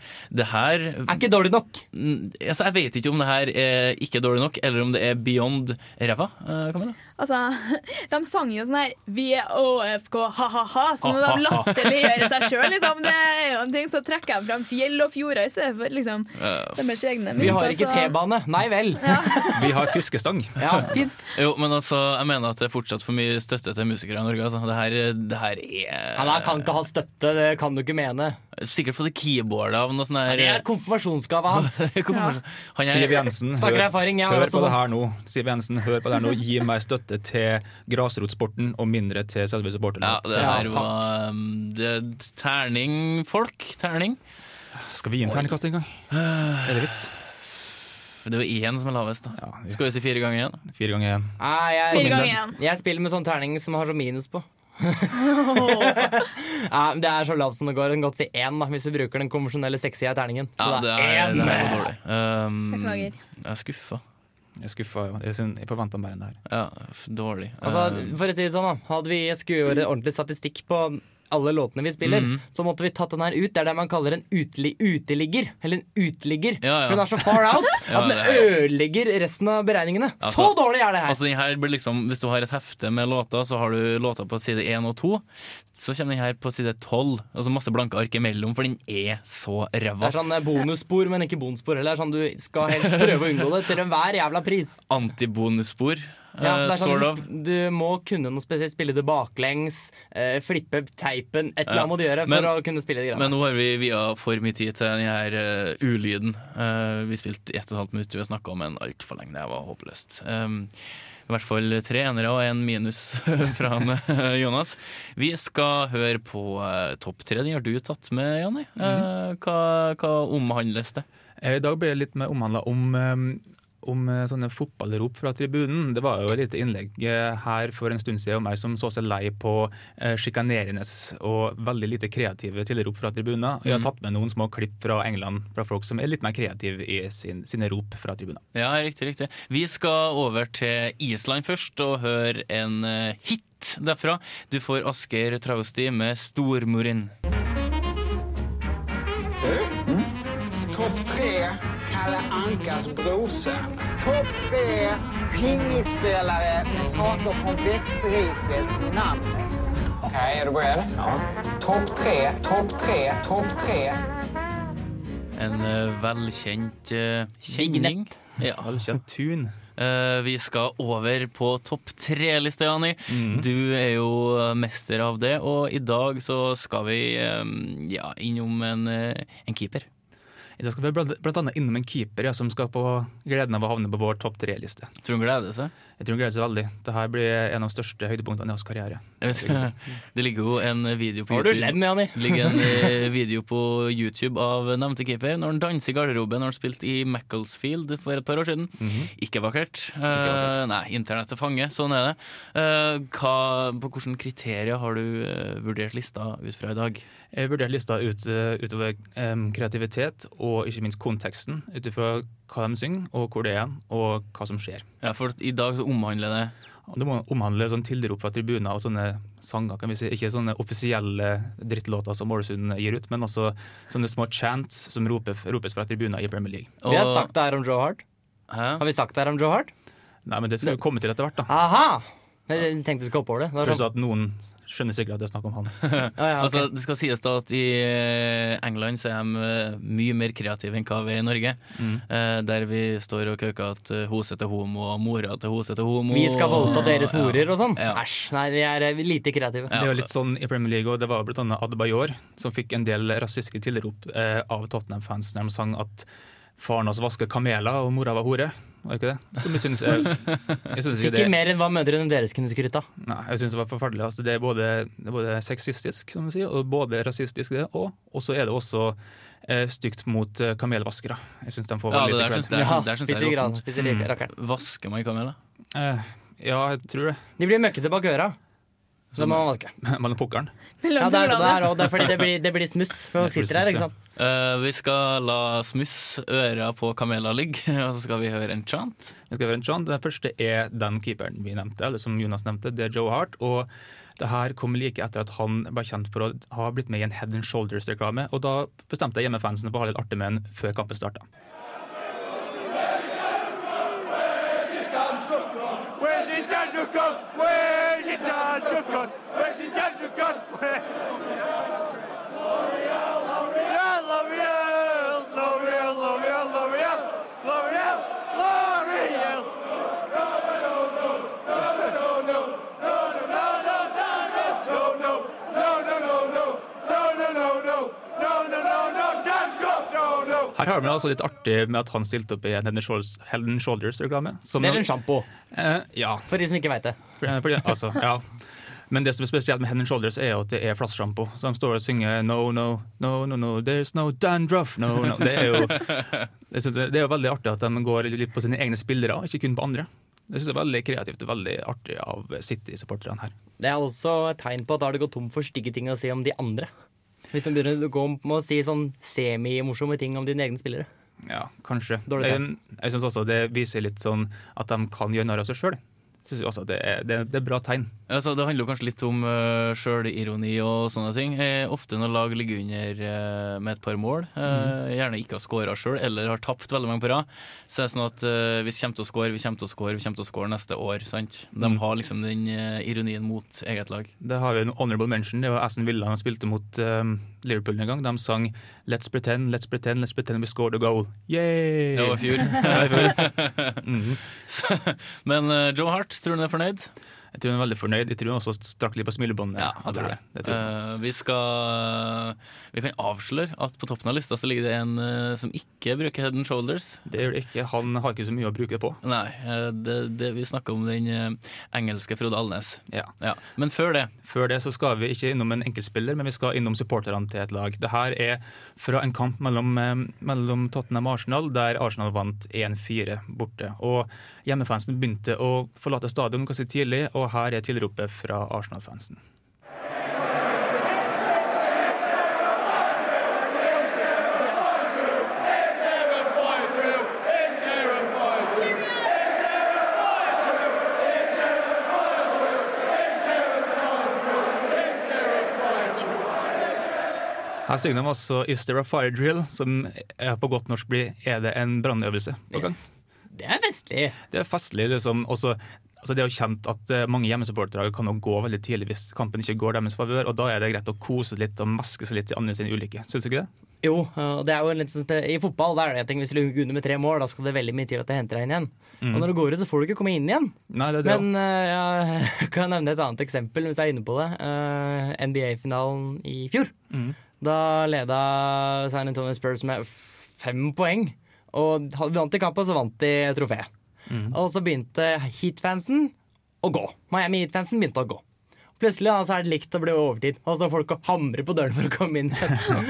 Speaker 4: Det her
Speaker 6: Er ikke dårlig nok.
Speaker 4: mm, altså, Jeg vet ikke om det her er ikke dårlig nok, eller om det er beyond ræva. eh, Camilla.
Speaker 5: Altså, de sang jo sånn her Vi er OFK, ha-ha-ha. Så når sånn, de latterliggjør seg sjøl, liksom, det er jo en ting, så trekker de fram fjell og fjorder i stedet for liksom, deres egne.
Speaker 6: Vi
Speaker 5: mynt,
Speaker 6: har ikke
Speaker 5: altså.
Speaker 6: T-bane. Nei vel.
Speaker 3: Vi har fiskestang.
Speaker 6: Ja, fint.
Speaker 4: Jo, men altså, jeg mener at det er fortsatt for mye støtte til musikere i Norge. Altså. Det, her, det her er
Speaker 6: Ja, da kan ikke ha støtte, det kan du ikke mene.
Speaker 4: Sikkert fått et keyboard av noe sånn her
Speaker 6: Det er konfirmasjonsgave hans.
Speaker 4: Hvorfor- Han
Speaker 3: Siv
Speaker 4: er
Speaker 3: Jensen,
Speaker 6: Snakker
Speaker 3: hør,
Speaker 6: erfaring, jeg har
Speaker 3: hør
Speaker 6: også
Speaker 3: på det
Speaker 6: sånn.
Speaker 3: her nå. Siv Jensen, hør på det her nå. Gi meg støtte til grasrotsporten og mindre til selve supporterne.
Speaker 4: ja, det
Speaker 6: Ja,
Speaker 4: her
Speaker 6: takk.
Speaker 4: var um, det, Terning, folk. Terning.
Speaker 3: Skal vi gi en terningkast en gang? Er det vits?
Speaker 4: Det var én som er lavest, da.
Speaker 3: Ja, vi-
Speaker 4: Skal vi si fire ganger igjen?
Speaker 3: fire ganger én.
Speaker 6: Nei,
Speaker 5: Fire
Speaker 6: jeg,
Speaker 5: ganger igjen.
Speaker 6: jeg spiller med sånn terning som har sånn minus på. Nei, men det er så lavt som det går. Jeg kan godt si én da, hvis vi bruker den konvensjonelle sexy terningen. Så
Speaker 4: Ja, det er,
Speaker 6: én.
Speaker 4: det er for dårlig. Um,
Speaker 5: Beklager.
Speaker 4: Jeg er skuffa.
Speaker 3: Jeg er skuffa. ja. Jeg, synes- jeg forventa mer enn det her.
Speaker 4: Ja, f- dårlig.
Speaker 6: Altså,
Speaker 4: Um,
Speaker 6: for å si det sånn, da. Hadde vi skrevet ordentlig statistikk på alle låtene vi spiller,
Speaker 4: Mhm.
Speaker 6: så måtte vi tatt den her ut. Det er det man kaller en uteli uteligger. Eller en uteligger.
Speaker 4: Ja, ja.
Speaker 6: For den er så far out
Speaker 4: Ja,
Speaker 6: at den
Speaker 4: det
Speaker 6: ødelegger resten av beregningene.
Speaker 4: Altså-
Speaker 6: så dårlig er det her!
Speaker 4: altså, den her blir liksom, Hvis du har et hefte med låter, så har du låter på side 1 og 2. Så kommer den her på side 12. Altså masse blanke ark imellom, for den er så
Speaker 6: det
Speaker 4: ræva.
Speaker 6: er sånn eh, bonusspor, men ikke bonusspor heller. Det er Sånn, du skal helst prøve å unngå det til enhver jævla pris.
Speaker 4: Antibonusspor.
Speaker 6: Ja,
Speaker 4: eh,
Speaker 6: det er sånn,
Speaker 4: sort
Speaker 6: du,
Speaker 4: of.
Speaker 6: sp- du må kunne noe spesielt. Spille det baklengs, eh, flippe teipen. Et eller
Speaker 4: Ja.
Speaker 6: annet må du gjøre for
Speaker 4: Men-
Speaker 6: å kunne spille de greiene.
Speaker 4: Men nå har vi via for mye tid til den her eh, ulyden. Eh, vi spilte ett og et halvt minutt, vi har snakka om en altfor lenge. Det var håpløst. Um, I hvert fall tre enere og en minus fra han, eh, Jonas. Vi skal høre på eh, topp tre. Den har du tatt med, Jonny. Eh, hva, hva omhandles det?
Speaker 3: Eh, I dag ble det litt mer omhandla om, eh, om eh, sånne fotballrop fra tribunen. Det var jo et lite innlegg eh, her for en stund siden om ei som så seg lei på eh, sjikanerende og veldig lite kreative tilrop fra tribuner. Jeg har tatt med noen små klipp fra England fra folk som er litt mer kreative i sin, sine rop fra tribuner.
Speaker 4: Ja, riktig, riktig. Vi skal over til Island først og høre en eh, hit derfra. Du får Asker Trausti med 'Stormurin'.
Speaker 9: Topp tre, Kalle Ankas brorsa. Topp tre, pingisspelare med saker från växtriket i namnet. Okej, är du beredd? Ja. Topp tre, topp tre, topp tre.
Speaker 4: En eh, velkjent uh, kjenning. Ja.
Speaker 3: Velkjent tun.
Speaker 4: Eh, vi skal over på topp tre-lista, Jani. Du er jo eh, mester av det, og i dag så skal vi eh, ja, innom en, eh, en keeper.
Speaker 3: I dag skal vi blant, blant annet innom en keeper ja, som skal få gleden av å havne på vår topp tre-liste.
Speaker 4: Tror hun gleder seg.
Speaker 3: Jeg tror hun gleder seg veldig. Dette blir en av de største høydepunktene i hans karriere.
Speaker 4: Jeg vet ikke. Det ligger jo en video på
Speaker 6: Var du
Speaker 4: YouTube.
Speaker 6: slem, Jani?
Speaker 4: Det ligger en eh, video på YouTube av nevnte keeper når han danser i garderoben når han spilte i Macclesfield for et par år siden.
Speaker 6: Mhm.
Speaker 4: Ikke vakkert. Eh, nei, internett til fange, sånn er det. Eh, hva, på hvilke kriterier har du eh, vurdert lista ut fra i dag?
Speaker 3: Jeg vurderte lista ut, eh, utover em, kreativitet og ikke minst konteksten. Ut ifra hva de synger, og hvor det er, og hva som skjer.
Speaker 4: Ja, for i dag så omhandler det
Speaker 3: Og det må omhandle sånn tilrop fra tribuner og sånne sanger. kan vi si. Ikke sånne offisielle drittlåter som Ålesund gir ut, men altså sånne små chants som roper, ropes fra tribuner i Premier League.
Speaker 6: Vi har
Speaker 4: og-
Speaker 6: sagt det her om Joe Hart.
Speaker 4: Hæ?
Speaker 6: Har vi sagt det her om Joe Hart?
Speaker 3: Nei, men Det skal vi komme til etter hvert. da.
Speaker 6: Aha! Jeg tenkte du skulle hoppe over det. det var
Speaker 3: Pluss
Speaker 6: sånn.
Speaker 3: at noen skjønner sikkert at det er snakk om han.
Speaker 6: ja, ja, ok.
Speaker 4: Altså, det skal sies da at I eh, England så er de eh, mye mer kreative enn hva vi er i Norge.
Speaker 6: Mm.
Speaker 4: Eh, Der vi står og kauker at eh, hose til homo og mora til hose til homo.
Speaker 6: vi skal voldta
Speaker 4: og-
Speaker 6: deres morer og sånn.
Speaker 4: Ja.
Speaker 6: Æsj. Nei, vi er eh, lite kreative.
Speaker 3: Det er jo litt sånn i Premier League, og det var jo blant annet Adebayor som fikk en del rasistiske tilrop eh, av Tottenham-fans når de sang at faren hans vasker kameler og mora var hore. Var ikke det? Som jeg synes er, jeg synes ikke
Speaker 6: Sikkert
Speaker 3: det,
Speaker 6: mer enn hva mødrene deres kunne skrytt av.
Speaker 3: nei, jeg synes det var forferdelig. Altså, det, er både, det er både sexistisk, som du sier, og både rasistisk det, og og så er det også eh, stygt mot eh, kamelvaskere. Jeg synes de får
Speaker 4: Ja,
Speaker 3: veldig
Speaker 4: det
Speaker 3: lite
Speaker 4: der syns
Speaker 3: cred.
Speaker 4: jeg, der syns jeg
Speaker 6: bitte
Speaker 4: er sånn
Speaker 6: grann.
Speaker 4: råttent.
Speaker 6: bitte lite rakkeren.
Speaker 4: Vasker man kameler?
Speaker 3: Eh, ja, jeg tror det.
Speaker 6: De blir møkkete bak øra. Så
Speaker 4: Sånn
Speaker 6: da må man vaske.
Speaker 3: Mellom pukkelen.
Speaker 6: Ja,
Speaker 5: Mellom
Speaker 6: det er det
Speaker 5: fingrene.
Speaker 6: der også, Det er fordi det blir, det blir smuss. Folk
Speaker 3: Det blir
Speaker 6: sitter her,
Speaker 3: smuss, ja.
Speaker 6: ikke sant.
Speaker 4: Eh, vi skal la smuss øra på kameler ligge, og så skal vi høre en chant.
Speaker 3: Det skal være en chant. Den første er den keeperen vi nevnte, eller som Jonas nevnte, det er Joe Hart. Og det her kom like etter at han ble kjent for å ha blitt med i en Head and Shoulders-reklame. Og da bestemte hjemmefansen for å ha litt artig med han før kampen starta. Her har vi altså litt artig med at han stilte opp i en Head and Shoulders- Head and Shoulders-reklame. som-
Speaker 6: Det er en sjampo,
Speaker 3: Eh, ja, Eh,
Speaker 6: for de som ikke veit det.
Speaker 3: for- fordi, altså, ja. Men det som er spesielt med Head and Shoulders, er jo at det er flassesjampo. Så de står og synger No, no, no, no, no, there's no dandruff, no, no. Det er jo, jeg synes det det er jo veldig artig at de går litt på sine egne spillere, ikke kun på andre. Jeg synes det er veldig kreativt og veldig artig av City-supporterne her.
Speaker 6: Det er også et tegn på at da har det gått tom for stygge ting å si om de andre. Hvis de begynner å gå med å si sånn semi-morsomme ting om dine egne spillere.
Speaker 3: Ja, kanskje.
Speaker 6: Dårlig
Speaker 3: Jeg, jeg syns også det viser litt sånn at de kan gjøre narr av seg sjøl. Det, er- det, er- det er bra tegn.
Speaker 4: Altså, det handler jo kanskje litt om uh, sjølironi og sånne ting. Eh, ofte når lag ligger under eh, med et par mål, eh, gjerne ikke har skåra sjøl eller har tapt veldig mange på rad, så er det sånn at eh, vi kommer til å skåre, vi kommer til å skåre, vi kommer til å skåre neste år. sant? De har liksom den eh, ironien mot eget lag.
Speaker 3: Det har vi en honorable mention. Det var Aston Villa de spilte mot um, Liverpool en gang. De sang 'Let's pretend, let's pretend, let's pretend we scored a goal'. Yay!
Speaker 4: Det var i fjor.
Speaker 3: Mhm.
Speaker 4: Så- Men eh, Joe Hart, tror du han er fornøyd?
Speaker 3: Jeg tror hun er veldig fornøyd. Jeg tror hun også strakk litt på smilebåndet.
Speaker 4: jeg tror det.
Speaker 3: Jeg tror jeg.
Speaker 4: Eh, vi skal Vi kan avsløre at på toppen av lista så ligger det en eh, som ikke bruker head and shoulders.
Speaker 3: det gjør det ikke. Han har ikke så mye å bruke det på.
Speaker 4: Nei, eh, det, det vi snakker om den eh, engelske Frode Alnes.
Speaker 3: Ja.
Speaker 4: Ja. Men før det
Speaker 3: Før det så skal vi ikke innom en enkeltspiller, men vi skal innom supporterne til et lag. Det her er fra en kamp mellom, eh, mellom Tottenham og Arsenal, der Arsenal vant 1-4 borte. Og Hjemmefansen begynte å forlate stadion ganske tidlig, og her er tilropet fra Arsenal-fansen. Her synger de altså 'Is there a fire drill?', som eh, på godt norsk blir 'Er det en brannøvelse?' på gang?
Speaker 6: Yes. Det er festlig.
Speaker 3: Det er festlig, liksom. Også, altså det er jo kjent at eh, mange hjemmesupportere kan jo gå veldig tidlig hvis kampen ikke går deres favør, og da er det greit å kose litt og meske seg litt i andre sine ulykker. Syns du ikke det?
Speaker 6: Jo, og det er jo en litt sånn spe I fotball da er det en ting hvis du ligger under med tre mål, da skal det veldig mye til at det henter deg inn igjen. Og når du går ut, så får du ikke komme inn igjen.
Speaker 3: Nei, det er det.
Speaker 6: Men eh, jeg kan nevne et annet eksempel hvis jeg er inne på det. Eh, NBA-finalen i fjor.
Speaker 3: Mm.
Speaker 6: Da leda San Antonio Spurs med f- fem poeng. Og ha- vant de kampen, så vant de trofeet.
Speaker 3: Mm.
Speaker 6: Og så begynte Heat-fansen å gå. Miami Heat-fansen begynte å gå. Plutselig da, så er det likt å bli overtid, og så folk hamrer på døren for å komme inn.
Speaker 3: ja, det,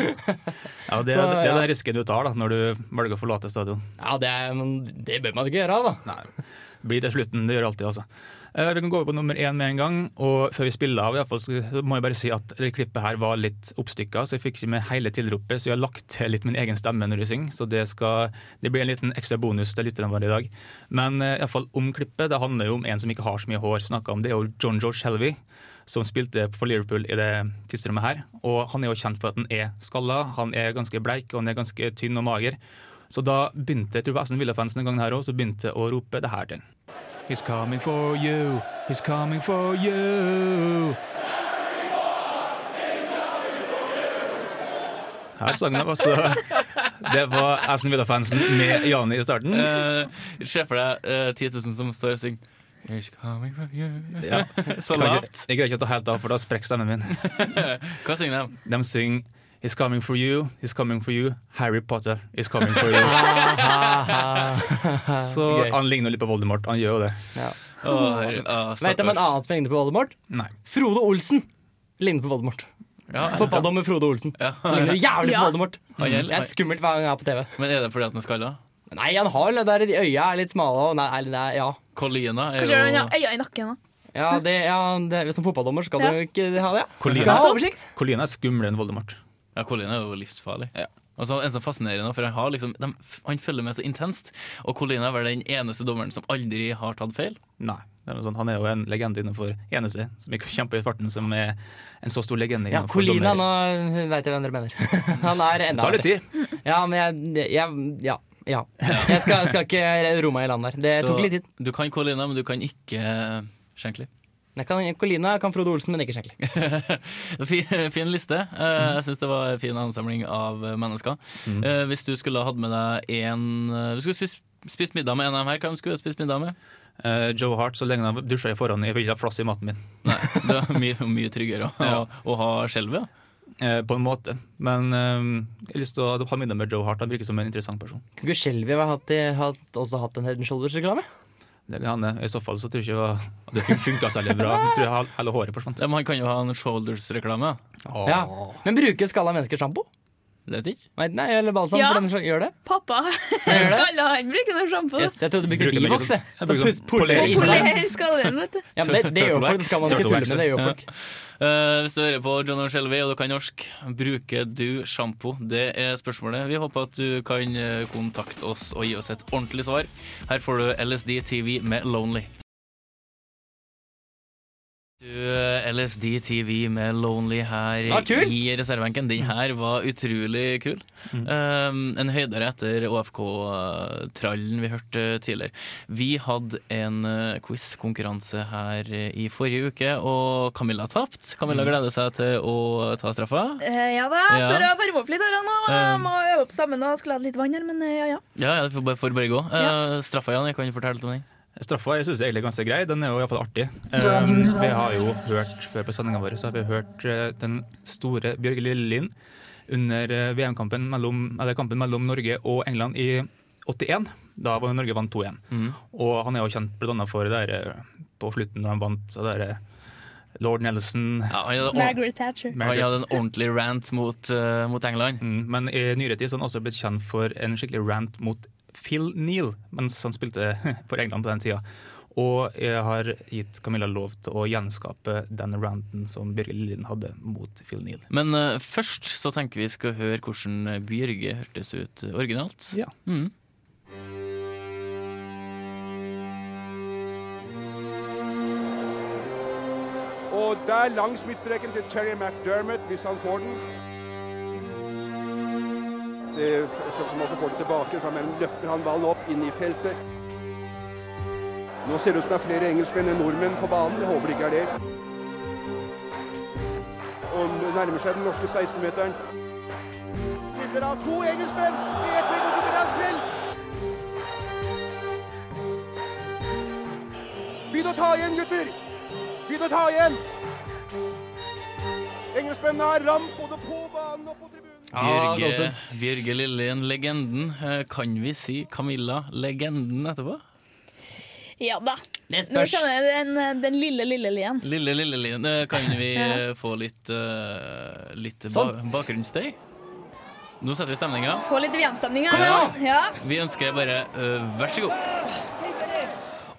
Speaker 6: så,
Speaker 3: det, det er
Speaker 6: ja.
Speaker 3: den risken du tar da, når du velger å forlate stadion.
Speaker 6: ja, det, er, men det bør man ikke gjøre, altså. da.
Speaker 3: Nei, blir til slutten. Det gjør alltid, altså. Eh, Vi kan gå over på nummer én med en gang. Og før vi spiller av, i hvert fall, så må jeg bare si at det klippet her var litt oppstykka, så jeg fikk ikke med hele tilropet. Så jeg har lagt til litt min egen stemme når jeg synger, så det, skal, det blir en liten ekstra bonus til lytterne våre i dag. Men eh, i hvert fall om klippet. Det handler jo om en som ikke har så mye hår. Snakka om det er jo John Joe Shelby. Som spilte for Liverpool i det tidsrommet her. Og han er jo kjent for at han er skalla, han er ganske bleik og han er ganske tynn og mager. Så da begynte jeg tror det var Aston Villa-fansen en gang her også, så begynte jeg å rope det her til den. He's coming for you, he's coming for you. Her sang de altså Det var Aston Villa-fansen med Jani i starten.
Speaker 4: eh, Se for deg eh, 10 000 som står og synger Here's coming for you.
Speaker 3: Ja.
Speaker 4: Så
Speaker 3: Kanskje,
Speaker 4: lavt.
Speaker 3: jeg greier ikke å ta helt av, for da sprekker stemmen min.
Speaker 4: Hva synger de?
Speaker 3: De synger He's coming for you, he's coming for you, Harry Potter is coming for you. Så
Speaker 6: Gøy.
Speaker 3: han ligner jo litt på Voldemort, han gjør jo det.
Speaker 4: Oh, oh,
Speaker 6: Vet du om en annen som ligner på Voldemort?
Speaker 3: Nei.
Speaker 6: Frode Olsen ligner på Voldemort.
Speaker 4: Ja,
Speaker 6: Fotballdommer Frode Olsen. Han ligner jævlig på
Speaker 5: Ja.
Speaker 6: Voldemort.
Speaker 4: Han gjør-
Speaker 6: Det er skummelt hver gang jeg er på TV.
Speaker 4: men er det fordi at den er skalla?
Speaker 6: Nei, han har vel det der de øya er litt smale og Nei, nei, nei ja.
Speaker 4: Colina er
Speaker 5: Kanskje han
Speaker 4: jo
Speaker 5: har øyne i nakken òg.
Speaker 6: Ja, det, ja det, Som fotballdommer skal du ikke ha det. ja.
Speaker 3: Colina.
Speaker 6: Du skal ha oversikt.
Speaker 3: Colina er skumlere enn Voldemort.
Speaker 4: Ja, Colin er jo livsfarlig.
Speaker 3: Ja.
Speaker 4: Og så en som fascinerer nå, for han, har liksom, de, han følger med så intenst. Og Colin er vel den eneste dommeren som aldri har tatt feil.
Speaker 3: Nei. Det er noe sånn, han er jo en legende innenfor eneste som ikke kjemper i farten, som er en så stor legende
Speaker 6: Ja,
Speaker 3: innenfor
Speaker 6: Colina, nå
Speaker 3: dommer.
Speaker 6: veit jeg hvem dere mener. Han er
Speaker 3: Det
Speaker 6: enda
Speaker 3: tar litt tid.
Speaker 6: Ja, men jeg, jeg Ja. ja. Jeg skal, skal ikke roe meg i land der. Det
Speaker 4: Så
Speaker 6: tok litt tid.
Speaker 4: Du kan Colina, men du kan ikke eh, Shankly.
Speaker 6: Jeg kan, Colina kan Frode Olsen, men ikke Shankly.
Speaker 4: fin, fin liste. Eh,
Speaker 6: Mhm.
Speaker 4: Jeg syns det var en fin ansamling av eh, mennesker. Eh, Hvis du skulle ha hatt med deg en eh, Du skulle spist, spist middag med en av dem her. Hvem skulle du ha spist middag med?
Speaker 3: Eh, Joe Hart, så lenge han dusjer i forhånd, jeg vil ikke ha flass i maten min.
Speaker 4: Nei, det er mye, mye tryggere å,
Speaker 3: Ja.
Speaker 4: å, å ha skjelvet.
Speaker 3: Eh, på en måte. Men eh, jeg har lyst til å ha middag med Joe Hart. Han virker som en interessant person.
Speaker 6: Kunne ikke Skjelvi ha hatt, hatt, også hatt en Head Shoulders-reklame?
Speaker 3: Det kan hende. I så fall så tror jeg ikke det var- at det funka særlig bra. Jeg tror jeg hele håret forsvant.
Speaker 4: Men han kan jo ha en Shoulders-reklame.
Speaker 6: Ja. Men bruker skalla mennesker sjampo?
Speaker 4: Det vet jeg ikke.
Speaker 6: Nei, nei, eller balsam?
Speaker 5: Ja.
Speaker 6: For den slags, gjør det?
Speaker 5: Pappa, skalla han bruker noe sjampo.
Speaker 6: Yes, jeg trodde du brukte
Speaker 3: Bruker meg
Speaker 6: bivoks.
Speaker 3: ikke
Speaker 6: jeg.
Speaker 3: sånn- jeg bruker
Speaker 6: Så pus-
Speaker 3: sånn
Speaker 6: polerer
Speaker 3: polering.
Speaker 6: inn på den.
Speaker 5: Polerer skallen, vet du.
Speaker 6: Ja, men det, det gjør folk. Det skal man ikke
Speaker 3: Turtle
Speaker 6: tulle
Speaker 3: wax.
Speaker 6: med. Det gjør
Speaker 4: Ja.
Speaker 6: folk.
Speaker 4: Eh, hvis du hører på John O'Shelby og du kan norsk, bruker du sjampo? Det er spørsmålet. Vi håper at du kan eh, kontakte oss og gi oss et ordentlig svar. Her får du LSD TV med Lonely. Du, eh, LSD TV med Lonely her
Speaker 6: Ah, kul!
Speaker 4: i reservebenken. Den her var utrolig kul. Eh, en høydere etter OFK-trallen vi hørte tidligere. Vi hadde en eh, quiz-konkurranse her eh, i forrige uke, og Camilla tapte. Camilla gleder seg til å ta straffa.
Speaker 5: Eh, ja da, jeg
Speaker 4: Ja.
Speaker 5: står og varmer opp litt her nå.
Speaker 4: Eh.
Speaker 5: Jeg må øve opp stemmen og skulle hatt litt vann her, men eh, ja ja.
Speaker 4: Ja, ja, det får bare, får bare gå. Eh, straffa, Jan, jeg kan fortelle litt om den.
Speaker 3: Straffa jeg synes jeg egentlig er ganske grei. Den er jo iallfall artig. Um, vi har jo hørt før på sendinga vår så har vi hørt eh, den store Bjørge Lillelien under eh, VM-kampen mellom, eller kampen mellom Norge og England i 81. Da var Norge vant 2-1. Og han er jo kjent blant annet for det der eh, på slutten da han vant det der eh, Lord Nelson.
Speaker 4: Ja, han, hadde ord-
Speaker 5: Margaret Thatcher.
Speaker 4: han hadde en ordentlig rant mot, eh, mot England.
Speaker 3: Mm, Men i nyere tid så har han også blitt kjent for en skikkelig rant mot Phil Neal mens han spilte for England på den tida. Og jeg har gitt Camilla lov til å gjenskape den ranten som Bjørge Lillien hadde mot Phil Neal.
Speaker 4: Men eh, først så tenker vi skal høre hvordan eh, Bjørge hørtes ut eh, originalt.
Speaker 3: Ja.
Speaker 4: Mm.
Speaker 10: Og der langs midtstreken til Terry McDermott, hvis han får den. Det, som- som også får den tilbake, for han løfter han ballen opp inn i feltet. Nå ser det ut som det er flere engelskmenn enn nordmenn på banen. Jeg håper det ikke er det. Og nærmer seg den norske 16-meteren. Spiller av to engelskmenn! I ett trekk, og så blir han felt! Begynn å ta igjen, gutter! Begynn å ta igjen! Engelskmennene har ramp både på banen og på tribunen.
Speaker 6: Ja,
Speaker 4: Bjørge,
Speaker 6: gåsehud.
Speaker 4: Bjørge Lillien, legenden. Eh, Kan vi si Camilla, legenden etterpå?
Speaker 5: Ja da.
Speaker 6: Det
Speaker 5: Nå
Speaker 6: spørs.
Speaker 5: kjenner jeg den, eh, den lille, lille lien.
Speaker 4: Lille Lillelien, eh, kan vi eh, få litt, eh, litt ba bakgrunnsstøy? Nå setter vi stemninga.
Speaker 5: Få litt VM-stemning her.
Speaker 4: Ja.
Speaker 5: nå. Ja.
Speaker 4: Vi ønsker bare eh, vær så god.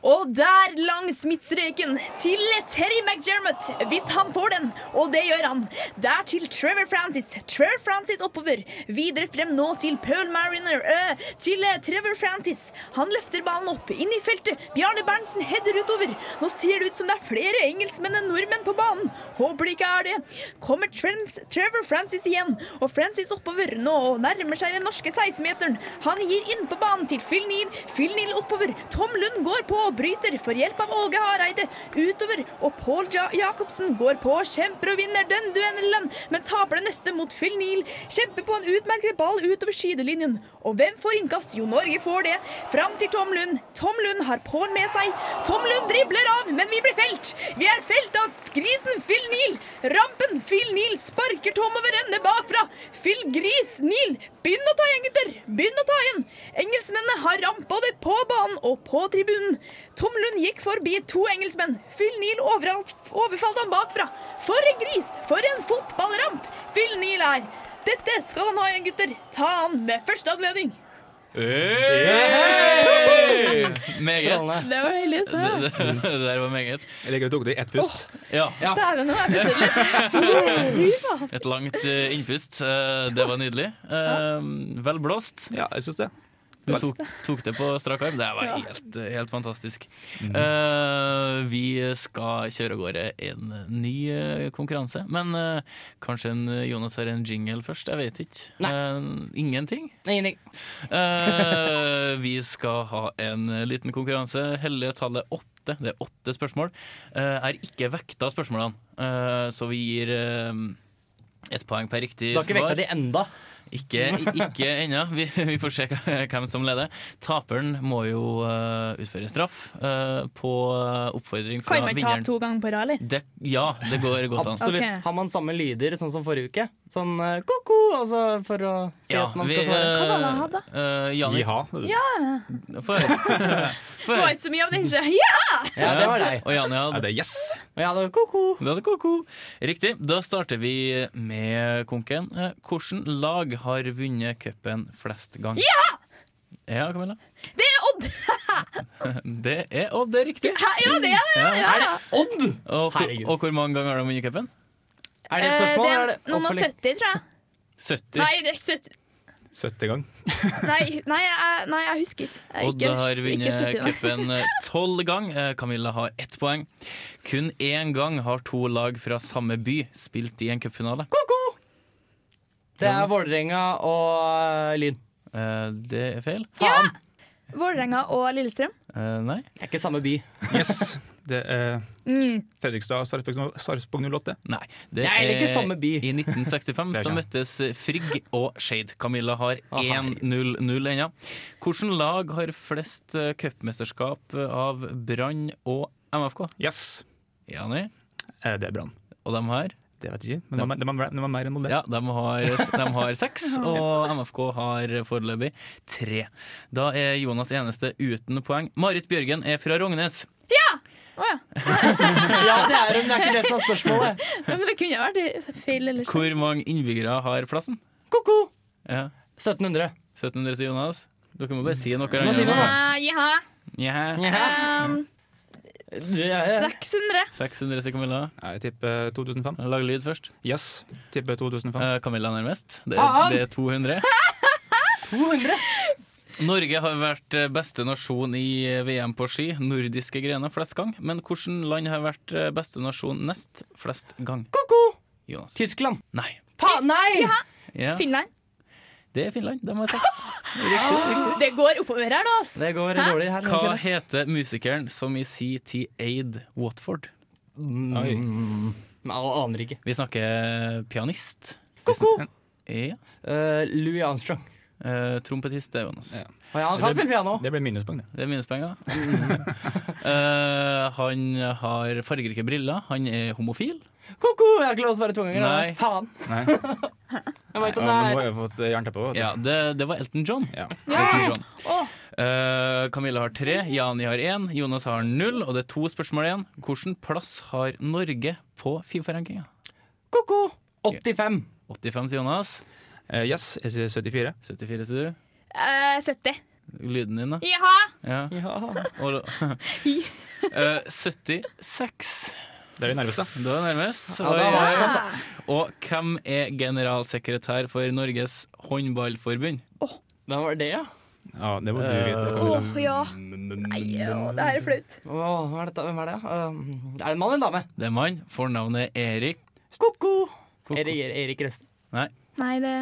Speaker 5: Og der langs midtstreken til Terry McDermott, hvis han får den, og det gjør han. Der til Trevor Francis, Trevor Francis oppover. Videre frem nå til Paul Mariner, øh, til eh, Trevor Francis. Han løfter ballen opp, inn i feltet. Bjarne Berntsen header utover. Nå ser det ut som det er flere engelskmenn enn nordmenn på banen. Håper det ikke er det. Kommer Trent, Trevor Francis igjen, og Francis oppover nå og nærmer seg den norske 16-meteren. Han gir inn på banen til Phil Neal. Phil Neal oppover. Tom Lund går på og bryter, får hjelp av Åge Hareide. Utover, og Paul ja Jacobsen går på, kjemper og vinner den duellen, men taper det neste mot Phil Neal. Kjemper på en utmerket ball utover sidelinjen. Og hvem får innkast? Jo, Norge får det. Fram til Tom Lund. Tom Lund har Paul med seg. Tom Lund dribler av, men vi blir felt. Vi er felt av grisen Phil Neal. Rampen Phil Neal sparker Tom over ende bakfra. Phil Gris Neal, begynn å ta igjen, gutter! Begynn å ta igjen! Engelskmennene har ramp både på banen og på tribunen. Tom Lund gikk forbi to engelskmenn. Phil Neal overalt, overfalt han bakfra. For en gris! For en fotballramp! Phil Neal er Dette skal han ha igjen, gutter. Ta han med første anledning.
Speaker 4: Meget.
Speaker 5: Det var heldig, så.
Speaker 4: Det, det der var meget.
Speaker 3: Jeg liker at du tok det i ett pust.
Speaker 4: Ja,
Speaker 5: Dæven, nå er jeg bestilt litt.
Speaker 4: et langt eh, innpust. Eh, Det var nydelig. Eh, Vel blåst.
Speaker 3: Ja, jeg syns det.
Speaker 4: Du tok, tok det på strak arm. Det var helt, helt fantastisk.
Speaker 6: Mhm.
Speaker 4: Eh, vi skal kjøre av gårde en ny eh, konkurranse. Men eh, kanskje en Jonas har en jingle først? Jeg vet ikke.
Speaker 6: Nei.
Speaker 4: Eh, ingenting?
Speaker 6: Ingenting.
Speaker 4: Eh, vi skal ha en liten konkurranse. Hellige tallet åtte. Det er åtte spørsmål. Eh, er ikke vekta spørsmålene, Eh, så vi gir eh, ett poeng per riktig
Speaker 6: Du har ikke vekta
Speaker 4: svar.
Speaker 6: de enda.
Speaker 4: Ikke, ikke ennå. Vi, vi får se hvem som leder. Taperen må jo eh, utføre straff eh, på oppfordring fra
Speaker 5: Kan man ta
Speaker 4: vinneren.
Speaker 5: to ganger på rad, eller?
Speaker 4: Det, ja, det går godt an.
Speaker 6: Absolutt.
Speaker 5: Ok.
Speaker 6: Har man samme lyder sånn som forrige uke? Sånn eh, ko-ko, altså for å se
Speaker 4: Ja,
Speaker 6: at man
Speaker 4: vi,
Speaker 6: skal svare.
Speaker 5: Hva var det han hadde?
Speaker 4: eh, Jannik,
Speaker 3: Jiha.
Speaker 4: få høre. Få
Speaker 5: Det var
Speaker 4: høre.
Speaker 5: ikke så mye av det, ikke? Ja!
Speaker 6: Ja, det var deg.
Speaker 4: Og Janni
Speaker 3: Ja,
Speaker 4: hadde
Speaker 3: det er yes!
Speaker 6: Og jeg hadde ko-ko.
Speaker 4: Vi hadde ko-ko. Riktig. Da starter vi med konken. Eh, Hvilket lag har vunnet cupen flest ganger? Ja! Ja, Camilla.
Speaker 5: Det er Odd!
Speaker 4: Det er Odd, det er riktig.
Speaker 5: Hæ? Ja, det er det!
Speaker 4: Ja.
Speaker 5: Ja, ja.
Speaker 6: Odd!
Speaker 4: Og, hvor-
Speaker 6: Herregud.
Speaker 4: og hvor mange ganger har de vunnet cupen?
Speaker 6: Er det et
Speaker 5: Eh,
Speaker 6: spørsmål?
Speaker 5: det
Speaker 6: eller
Speaker 5: er
Speaker 6: er det
Speaker 5: noen og
Speaker 6: oppfølging?
Speaker 5: 70, tror jeg.
Speaker 4: 70.
Speaker 5: Nei, det er 70
Speaker 3: 70 gang.
Speaker 5: Nei, nei, jeg, nei jeg husker ikke. Jeg er
Speaker 4: Odd
Speaker 5: ikke,
Speaker 4: har
Speaker 5: ikke
Speaker 4: vunnet
Speaker 5: 70 nå.
Speaker 4: cupen tolv ganger. Eh, Camilla har ett poeng. Kun én gang har to lag fra samme by spilt i en cupfinale.
Speaker 6: Det er Vålerenga og eh, Lyn.
Speaker 4: Eh, Det er feil.
Speaker 6: Faen!
Speaker 5: Vålerenga og Lillestrøm.
Speaker 4: Eh, Nei.
Speaker 6: Det er ikke samme by.
Speaker 3: Yes! Mm. Det er Fredrikstad Sarpsborg Sarpsborg 08.
Speaker 4: Nei, det
Speaker 6: Nei, det er ikke samme by.
Speaker 4: I 1965 så møttes Frigg og Skeid. Camilla har
Speaker 6: Å, herregud.
Speaker 4: 1-0-0 ennå. Hvilket lag har flest eh, cupmesterskap av Brann og MFK?
Speaker 3: Yes!
Speaker 4: Jani,
Speaker 3: Eh, Det er Brann.
Speaker 4: og de har?
Speaker 3: Det vet jeg ikke. Men det var, det var, det var mer enn Molde.
Speaker 4: Ja, de har, de har seks, og MFK har foreløpig tre. Da er Jonas eneste uten poeng. Marit Bjørgen er fra Rognes.
Speaker 5: Å ja.
Speaker 6: Ja, det er hun. Det er ikke det som er spørsmålet.
Speaker 5: Men det kunne vært feil eller sånn.
Speaker 4: Hvor mange innbyggere har plassen?
Speaker 6: Ko-ko!
Speaker 4: Ja,
Speaker 6: 1700.
Speaker 4: 1700, sier Jonas. Dere må bare si noe.
Speaker 6: må si noe.
Speaker 5: Eh, ja.
Speaker 4: Ja.
Speaker 5: Ehm, 600.
Speaker 4: 600, sier Camilla.
Speaker 3: Jeg tipper 2005.
Speaker 4: Lag lyd først.
Speaker 3: Yes! Tipper 2005.
Speaker 4: Eh, Camilla nærmest. Det,
Speaker 6: Faen!
Speaker 4: det er 200. Norge har vært eh, beste nasjon i VM på ski, nordiske grener flest gang. Men hvilket land har vært eh, beste nasjon nest flest gang?
Speaker 6: Ko-ko!
Speaker 4: Jonas.
Speaker 6: Tyskland.
Speaker 4: Nei.
Speaker 6: Pa, nei!
Speaker 4: Ja,
Speaker 5: Finland.
Speaker 4: det er Finland. De har seks.
Speaker 5: Det går oppover her, da. Altså.
Speaker 6: Det går dårlig her.
Speaker 4: Hva heter musikeren som i sin tid eide Watford?
Speaker 6: Jeg aner ikke.
Speaker 4: Vi snakker pianist.
Speaker 6: Ko-ko!
Speaker 4: Ja.
Speaker 6: Eh, Louis Armstrong.
Speaker 4: Eh, trompetist, det er Jonas.
Speaker 3: Ja.
Speaker 6: Å ja, han kan spille piano.
Speaker 3: Det blir minuspoeng, det.
Speaker 4: Det er minuspoeng, da. Eh, han har fargerike briller. Han er homofil.
Speaker 6: Ko-ko! Jeg har ikke lov å svare to ganger.
Speaker 4: Nei.
Speaker 6: da. Faen.
Speaker 3: Nei.
Speaker 6: Jeg
Speaker 3: Ja,
Speaker 6: vet om det
Speaker 3: nå
Speaker 6: er
Speaker 3: må jeg ha fått eh, jernteppe òg.
Speaker 4: Ja, det, det var Elton John.
Speaker 3: Ja.
Speaker 4: Elton
Speaker 6: sånn.
Speaker 4: John.
Speaker 5: Åh.
Speaker 4: Eh, Camilla har tre, Jani har én, Jonas har null, og det er to spørsmål igjen. Hvilken plass har Norge på Fifa-rankinga?
Speaker 6: ko-ko! 85.
Speaker 4: 85 sier Jonas.
Speaker 3: Eh, yes, jeg sier 74.
Speaker 4: 74 sier du.
Speaker 5: Eh, 70.
Speaker 4: Lyden din, da.
Speaker 5: Jaha.
Speaker 4: Ja.
Speaker 6: Ja.
Speaker 4: Og, Eh, 76.
Speaker 3: Det er vi nærmeste.
Speaker 4: Du er nærmest.
Speaker 6: da
Speaker 4: Oi,
Speaker 6: var
Speaker 4: oi. Og hvem er generalsekretær for Norges håndballforbund?
Speaker 6: Hvem var det, ja?
Speaker 3: Ja, det må du vite.
Speaker 5: Åh,
Speaker 3: Camilla.
Speaker 5: ja. Nei, åh, det her er flaut.
Speaker 6: Åh, hva er dette? Hvem er det? ja? Eh, er det en mann eller en dame?
Speaker 4: Det er mann. Fornavnet er Erik.
Speaker 6: Ko-ko! Erik, Erik Røsten.
Speaker 5: Nei, det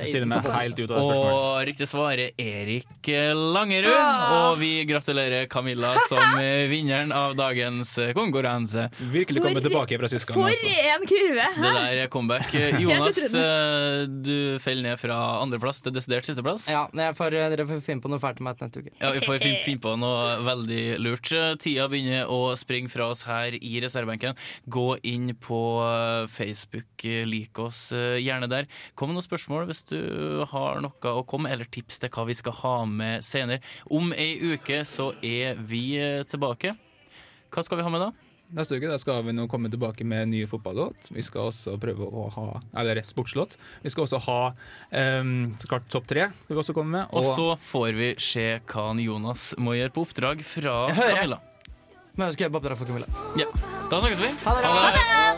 Speaker 3: Jeg stiller meg helt ut av det spørsmålet.
Speaker 4: Og riktig svar er Erik Langerud.
Speaker 5: Ah.
Speaker 4: Og vi gratulerer Camilla som eh, vinneren av dagens eh, konkurranse.
Speaker 3: Virkelig kommet
Speaker 5: For-
Speaker 3: tilbake fra sist gang.
Speaker 5: For
Speaker 3: Altså.
Speaker 5: en kurve!
Speaker 4: Det der er comeback.
Speaker 5: Helt
Speaker 4: Jonas,
Speaker 5: utrolig.
Speaker 4: eh, du faller ned fra andreplass til desidert sisteplass.
Speaker 6: Ja, men jeg får, eh, dere får finne på noe fælt til meg til neste uke.
Speaker 4: Ja, Vi får fin- finne på noe veldig lurt. Tida begynner å springe fra oss her i reservebenken. Gå inn på eh, Facebook, eh, lik oss eh, gjerne der. Kom med noen spørsmål hvis du har noe å komme med, eller tips til hva vi skal ha med senere. Om ei uke så er vi eh, tilbake. Hva skal vi ha med da?
Speaker 3: Neste uke da skal vi nå komme tilbake med en ny fotballåt. Vi skal også prøve å ha Eller sportslåt. Vi skal også ha um, så klart topp tre. Skal vi også komme med.
Speaker 4: Og så får vi se hva han Jonas må gjøre på oppdrag fra
Speaker 6: hører.
Speaker 4: Camilla.
Speaker 6: Men jeg skal jobbe på oppdrag for Camilla.
Speaker 4: Ja. Da snakkes vi.
Speaker 6: Ha det bra.
Speaker 4: det.